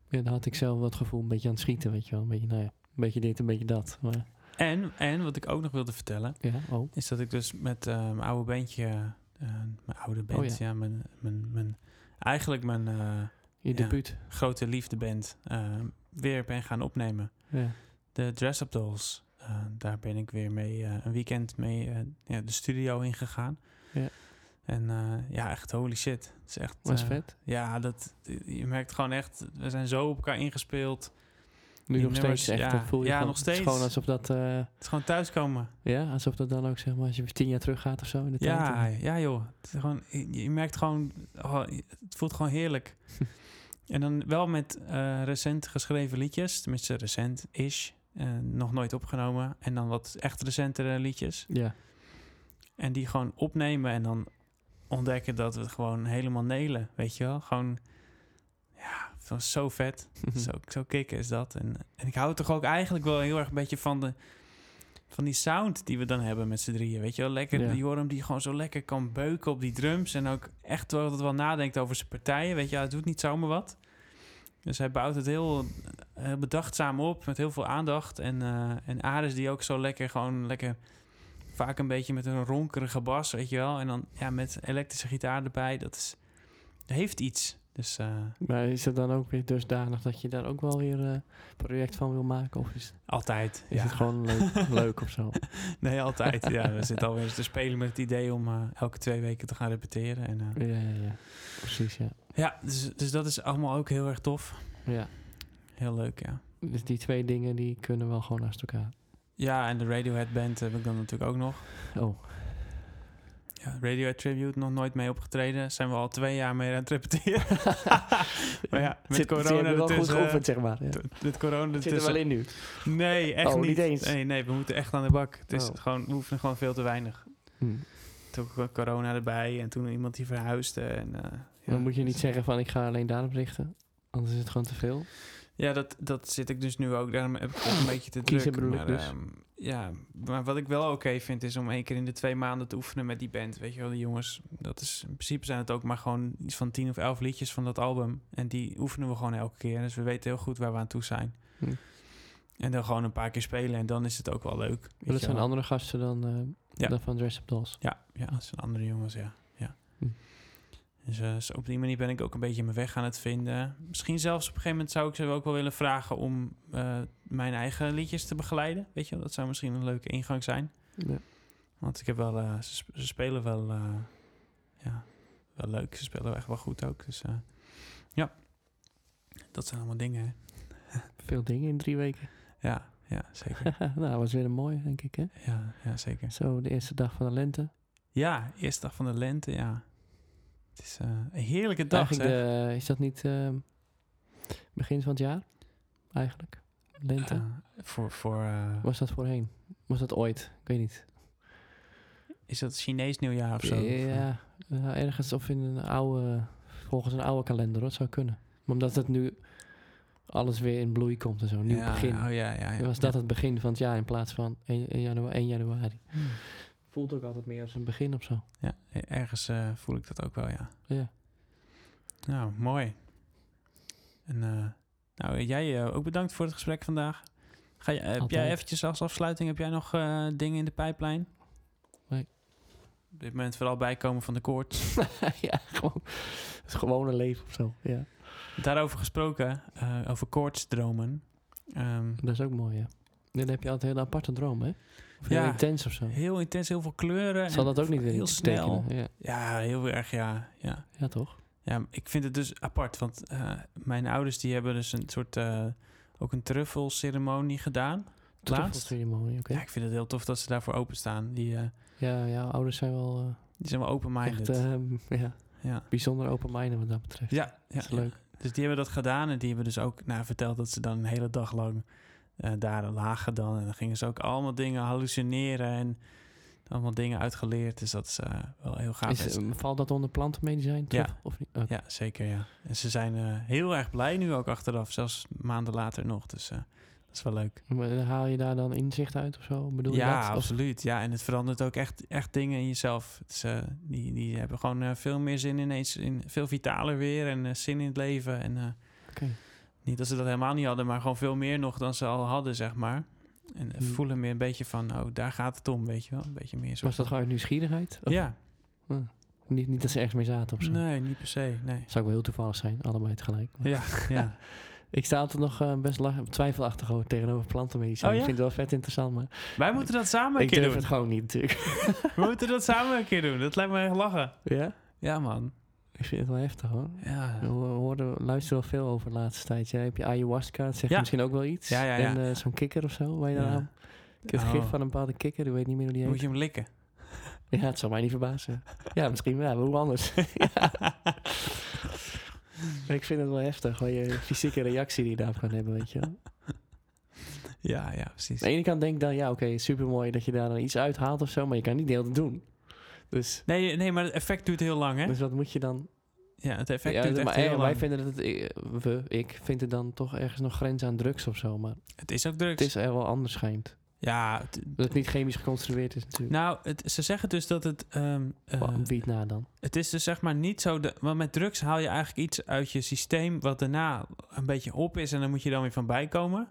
ja, dan had ik zelf wel het gevoel een beetje aan het schieten, weet je wel. Een beetje, nou ja, een beetje dit, een beetje dat. Maar,
En, en wat ik ook nog wilde vertellen...
ja, oh.
is dat ik dus met eh, mijn oude bandje, eh, mijn oude band,
Oh,
ja, mijn, mijn, mijn, eigenlijk mijn eh,
Je
Ja.
debuut.
grote liefdeband, eh, weer ben gaan opnemen.
Ja.
De Dress Up Dolls, eh, daar ben ik weer mee eh, een weekend mee eh, ja, de studio ingegaan.
Ja.
En eh, ja, echt holy shit. Het is echt,
Was
eh,
vet.
Ja, dat, je merkt gewoon echt, we zijn zo op elkaar ingespeeld.
Nu
die
nog
nummers,
steeds echt,
ja.
dat voel je
Ja,
gewoon,
nog
het is
steeds.
gewoon alsof dat... eh,
Het is gewoon thuiskomen.
ja, alsof dat dan ook, zeg maar, als je weer tien jaar terug gaat of zo in de tijd.
Ja,
dan-
ja joh. Het is gewoon, je, je merkt gewoon, oh, het voelt gewoon heerlijk. en dan wel met eh, recent geschreven liedjes, tenminste recent-ish, eh, nog nooit opgenomen. En dan wat echt recentere liedjes.
Ja.
En die gewoon opnemen en dan ontdekken dat we het gewoon helemaal nelen, weet je wel. Gewoon, ja, het was zo vet.
Hm.
Zo, zo kicken is dat. En, en ik hou toch ook eigenlijk wel heel erg een beetje van, de, van die sound die we dan hebben met z'n drieën. Weet je wel, lekker
Ja.
die Joram die gewoon zo lekker kan beuken op die drums. En ook echt wel, dat wel nadenkt over zijn partijen. Weet je, hij doet niet zomaar wat. Dus hij bouwt het heel, heel bedachtzaam op, met heel veel aandacht. En, eh en Aris die ook zo lekker gewoon lekker... Vaak een beetje met een ronkerige bas, weet je wel. En dan ja, met elektrische gitaar erbij. Dat is, heeft iets. Dus eh,
Maar is het dan ook weer dusdanig dat je daar ook wel weer een project van wil maken? Of is,
altijd.
is
ja.
het gewoon leuk, leuk of zo?
Nee, altijd. Ja, we zitten alweer eens te spelen met het idee om eh, elke twee weken te gaan repeteren. En, eh,
Ja, ja, ja. Precies, ja.
ja, dus, dus dat is allemaal ook heel erg tof.
ja.
Heel leuk, ja.
Dus die twee dingen die kunnen wel gewoon naast elkaar.
Ja, en de Radiohead Band heb ik dan natuurlijk ook nog.
Oh,
Ja, Radiohead Tribute, nog nooit mee opgetreden. Zijn we al twee jaar mee aan het repeteren. maar ja, met
Zit-
corona
ze hebben wel goed
ertussen,
geoefend, zeg maar. Ja.
eh, t- Met corona
Het zit er wel
ertussen-
in nu.
Nee, echt
Oh,
niet.
niet eens.
Nee, nee, we moeten echt aan de bak. Het is
Oh.
gewoon, we oefenen gewoon veel te weinig.
Hm.
Toen kwam corona erbij en toen iemand die verhuisde. En, eh, ja,
Dan moet je
dus-
niet zeggen van ik ga alleen daarop richten. Anders is het gewoon te veel.
Ja, dat, dat zit ik dus nu ook. Daarom heb ik het een beetje te druk.
Kiezen bedoel ik
maar,
dus.
ehm, ja, maar wat ik wel oké vind is om één keer in de twee maanden te oefenen met die band. Weet je wel, die jongens. Dat is, in principe zijn het ook maar gewoon iets van tien of elf liedjes van dat album. En die oefenen we gewoon elke keer. Dus we weten heel goed waar we aan toe zijn.
Hm.
En dan gewoon een paar keer spelen en dan is het ook wel leuk. weet
Maar
je
dat zijn
wel.
andere gasten dan, eh,
Ja.
dan van Dress Up Dolls.
Ja, ja, dat zijn andere jongens, ja. ja.
Hm.
Dus eh, zo op die manier ben ik ook een beetje mijn weg aan het vinden. Misschien zelfs op een gegeven moment zou ik ze ook wel willen vragen om eh, mijn eigen liedjes te begeleiden. Weet je, wel, dat zou misschien een leuke ingang zijn.
Ja.
Want ik heb wel, eh, ze, sp- ze spelen wel, eh, ja, wel leuk. Ze spelen echt wel goed ook. Dus eh, ja, dat zijn allemaal dingen. Hè.
Veel dingen in drie weken.
Ja, ja, zeker.
nou, was weer een mooie, denk ik. Hè?
ja, ja, zeker.
Zo, de eerste dag van de lente.
Ja, eerste dag van de lente, ja. Het is eh, een heerlijke dag, zeg.
Eigenlijk de, is dat niet eh, begin van het jaar? Eigenlijk. Lente.
Eh, voor voor eh,
Was dat voorheen? Was dat ooit? Ik weet niet.
is dat Chinees nieuwjaar of eh, zo?
Ja, nou, ergens of in een oude, volgens een oude kalender, hoor. Het zou kunnen. Maar omdat het nu alles weer in bloei komt en zo, nieuw
Ja,
begin.
Oh ja, ja, ja.
was dat het begin van het jaar in plaats van 1, januari, 1 januari.
Hmm.
Voelt ook altijd meer als een begin of zo.
Ja, ergens eh, voel ik dat ook wel, ja.
Ja.
Nou, mooi. En eh, nou, jij eh, ook bedankt voor het gesprek vandaag. Ga je, heb jij
Altijd.
eventjes als afsluiting, heb jij nog eh, dingen in de pijplijn?
Nee.
Op dit moment vooral bijkomen van de koorts.
ja, gewoon het gewone leven of zo. Ja.
Daarover gesproken, eh, over koortsdromen. Ehm,
Dat is ook mooi, ja. Dan heb je altijd hele aparte dromen, hè? Of heel
Ja.
intens of zo.
heel intens, heel veel kleuren.
Zal
en
dat ook niet weer
heel
iets betekenen?
snel.
Ja.
Ja, heel erg, ja. ja.
ja, toch?
Ja, maar ik vind het dus apart, want eh, mijn ouders die hebben dus een soort, eh, ook een truffelceremonie gedaan. Laatst.
Truffelceremonie, oké.
Ja, ik vind het heel tof dat ze daarvoor openstaan. Die, eh,
Ja, ja, ouders zijn wel eh,
die zijn wel
echt
open-minded.
ehm, ja,
ja.
bijzonder open-minded wat dat betreft.
Ja, ja,
Dat is leuk.
ja. Dus die hebben dat gedaan en die hebben dus ook nou, verteld dat ze dan een hele dag lang eh, daar lagen dan. En dan gingen ze ook allemaal dingen hallucineren en allemaal dingen uitgeleerd. Dus dat is eh, wel heel gaaf.
Is,
En ze-
eh, valt dat onder plantenmedicijn?
Ja.
truffel, Of niet? Oh, Oké.
Ja, zeker ja. En ze zijn eh, heel erg blij nu ook achteraf, zelfs maanden later nog. Dus eh, dat is wel leuk.
Maar dan haal je daar dan inzicht uit of zo? Bedoel je
ja,
dat? Of-
absoluut. Ja, en het verandert ook echt, echt dingen in jezelf. Het is, eh, die, die hebben gewoon eh, veel meer zin ineens, in, veel vitaler weer en eh, zin in het leven. En eh,
Oké.
niet dat ze dat helemaal niet hadden, maar gewoon veel meer nog dan ze al hadden, zeg maar. En eh,
Hmm.
voelen meer een beetje van, oh, daar gaat het om, weet je wel. Een beetje meer zo.
Was dat gewoon Oh, uit nieuwsgierigheid? Of
Ja,
Niet, niet dat ze ergens mee zaten of zo?
nee, niet per se, nee.
Zou ook wel heel toevallig zijn, allebei tegelijk. Maar
Ja, ja.
Ik sta altijd nog eh, best la- twijfelachtig over tegenover plantenmedicijn.
Oh, ja?
Ik vind het wel vet interessant, maar
Wij moeten dat samen een
ik
keer
durf
doen.
het gewoon niet natuurlijk.
We moeten dat samen een keer doen. Dat lijkt me echt lachen.
ja?
Ja, man.
Ik vind het wel heftig hoor.
Ja.
We hoorden, luisteren wel veel over de laatste tijd. Jij hebt je ayahuasca, dat zegt
Ja.
misschien ook wel iets.
Ja, ja, ja.
En eh, zo'n kikker of zo, waar je dan
Ja.
aan- Ik heb het
Oh.
gif van een bepaalde kikker, ik weet niet meer hoe die
Moet
heet.
je hem likken?
Ja, het zal mij niet verbazen. ja, misschien wel, maar hoe anders? Ja. Maar ik vind het wel heftig, gewoon je fysieke reactie die je daarop kan hebben, weet je. wel.
Ja, ja, precies.
Aan de ene kant denk ik dan, ja oké, supermooi dat je daar dan iets uithaalt of zo, maar je kan niet de hele tijd doen. Dus,
Nee, nee, maar het effect duurt heel lang, hè?
dus wat moet je dan
Ja, het effect
Ja,
duurt
d-
echt
maar eh,
heel
wij
lang.
vinden dat het, eh, we, ik vind het dan toch ergens nog grens aan drugs of zo. Maar
Het is ook drugs.
het is er wel anders schijnt.
Ja, het-
Dat het niet chemisch geconstrueerd is natuurlijk.
nou, het- ze zeggen dus dat het... ehm, eh,
Wa- Wie het na dan?
het is dus zeg maar niet zo... De, want met drugs haal je eigenlijk iets uit je systeem... wat daarna een beetje op is en dan moet je dan weer van bijkomen.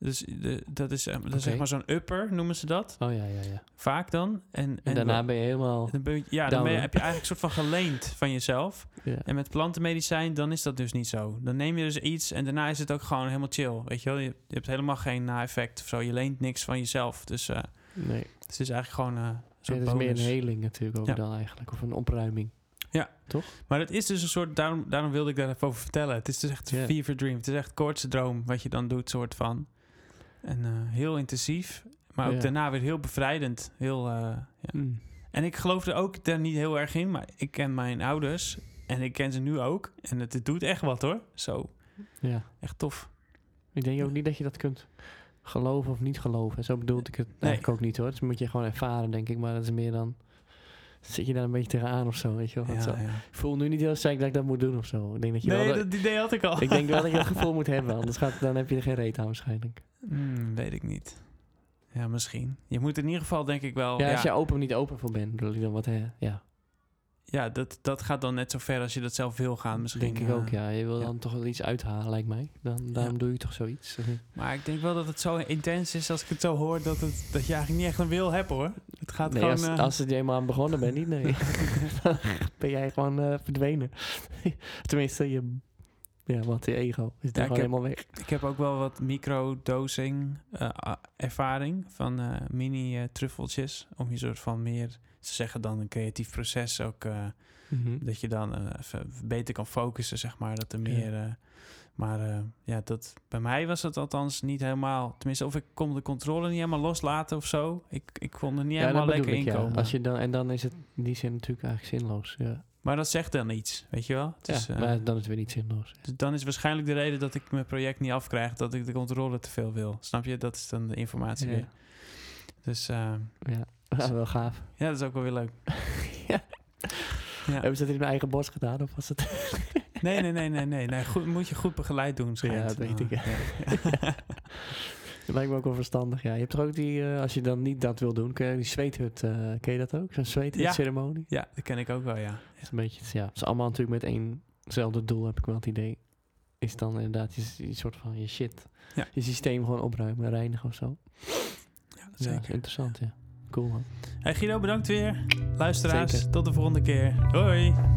Dus de, dat is, eh, dat is
Oké.
zeg maar zo'n upper, noemen ze dat.
Oh ja, ja, ja. En,
Vaak dan. En,
daarna ben je helemaal...
dan ben je- ja, dan ben je,
Downer.
heb je eigenlijk een soort van geleend van jezelf.
Ja.
En met plantenmedicijn, dan is dat dus niet zo. Dan neem je dus iets en daarna is het ook gewoon helemaal chill. Weet je wel, je, je hebt helemaal geen na-effect of zo. Je leent niks van jezelf. Dus, eh,
Nee,
dus het is eigenlijk gewoon eh
het
zo'n
is meer een
bonus.
heling natuurlijk ook
Ja.
dan eigenlijk. Of een opruiming.
Maar het is dus een soort, daarom, daarom wilde ik daar even over vertellen. Het is dus echt
Ja.
fever dream. Het is echt koortsdroom wat je dan doet, soort van. En eh, heel intensief. Maar ook
Ja.
daarna weer heel bevrijdend. Heel, eh, ja.
Mm.
En ik geloofde ook daar niet heel erg in, maar ik ken mijn ouders en ik ken ze nu ook. En het, het doet echt wat hoor. Zo,
ja.
echt tof.
Ik denk ook niet dat je dat kunt geloven of niet geloven. Zo bedoel ik het eigenlijk ook niet hoor. Dus moet je gewoon ervaren, denk ik. Maar dat is meer dan. Zit je daar een beetje tegenaan of zo, weet je wel.
Ja,
Want zo-
ja.
Ik voel nu niet heel sterk dat ik dat moet doen of zo. Ik denk dat je
Nee,
wel.
dat idee had ik al.
Ik denk wel dat je dat gevoel moet hebben, anders gaat, dan heb je er geen reet aan waarschijnlijk.
Hmm, weet ik niet. Ja, misschien. Je moet in ieder geval denk ik wel...
ja,
Oh, Ja,
als je open of niet open voor bent, bedoel ik dan wat hè? Ja,
ja, dat, dat gaat dan net zo ver als je dat zelf wil gaan misschien.
denk ik
eh.
ook. Ja, je wil
ja.
dan toch wel iets uithalen, lijkt mij. Dan, daarom
Ja.
doe je toch zoiets.
Maar ik denk wel dat het zo intens is als ik het zo hoor dat, het, dat je eigenlijk niet echt een wil hebt hoor. Het gaat
nee,
gewoon...
als,
eh,
als het je eenmaal aan begonnen bent, niet nee. dan ben jij gewoon eh, verdwenen. Tenminste, je, ja, want je ego is daar
ik
gewoon
heb-
helemaal weg.
Ik heb ook wel wat microdosing eh, a- ervaring van eh, mini eh, truffeltjes. Om je soort van meer, ze zeggen dan een creatief proces ook. eh, dat je dan eh, even beter kan focussen, zeg maar. Dat er
Ja.
meer... eh, maar eh, ja, dat, bij mij was dat althans niet helemaal... Tenminste, of ik kon de controle niet helemaal loslaten of zo. Ik, ik kon er niet helemaal
dat
lekker
bedoel
in
ik, ja.
komen.
Als je dan, en dan is het in die zin natuurlijk eigenlijk zinloos. Ja,
Maar dat zegt dan iets, weet je wel? Het is,
ja
eh,
maar dan is het weer niet zinloos.
Dus dan is waarschijnlijk de reden dat ik mijn project niet afkrijg... dat ik de controle te veel wil. Snap je? Dat is dan de informatie
Ja.
weer. Dus eh,
Ja, Ja, wel gaaf.
ja, dat is ook wel weer leuk.
Hebben ze dat in mijn eigen borst gedaan of was het...
Nee, nee, nee, nee, nee. nee goed, moet je goed begeleid doen, schijnt.
Ja, dat weet ik,
Ja.
Dat lijkt me ook wel verstandig, ja. Je hebt toch ook die, eh, als je dan niet dat wil doen, kun je die zweethut, eh, ken je dat ook? Zo'n zweethutceremonie?
Ja, dat ken ik ook wel, ja.
Het is een beetje, ja, het is allemaal natuurlijk met éénzelfde doel, heb ik wel het idee. Is dan inderdaad je, je soort van je shit,
Ja.
je systeem gewoon opruimen, reinigen of zo.
ja
Ja,
zeker.
dat is interessant, ja. Cool man.
Hey Guido, bedankt weer. Luisteraars,
Zeker.
tot de volgende keer. Hoi.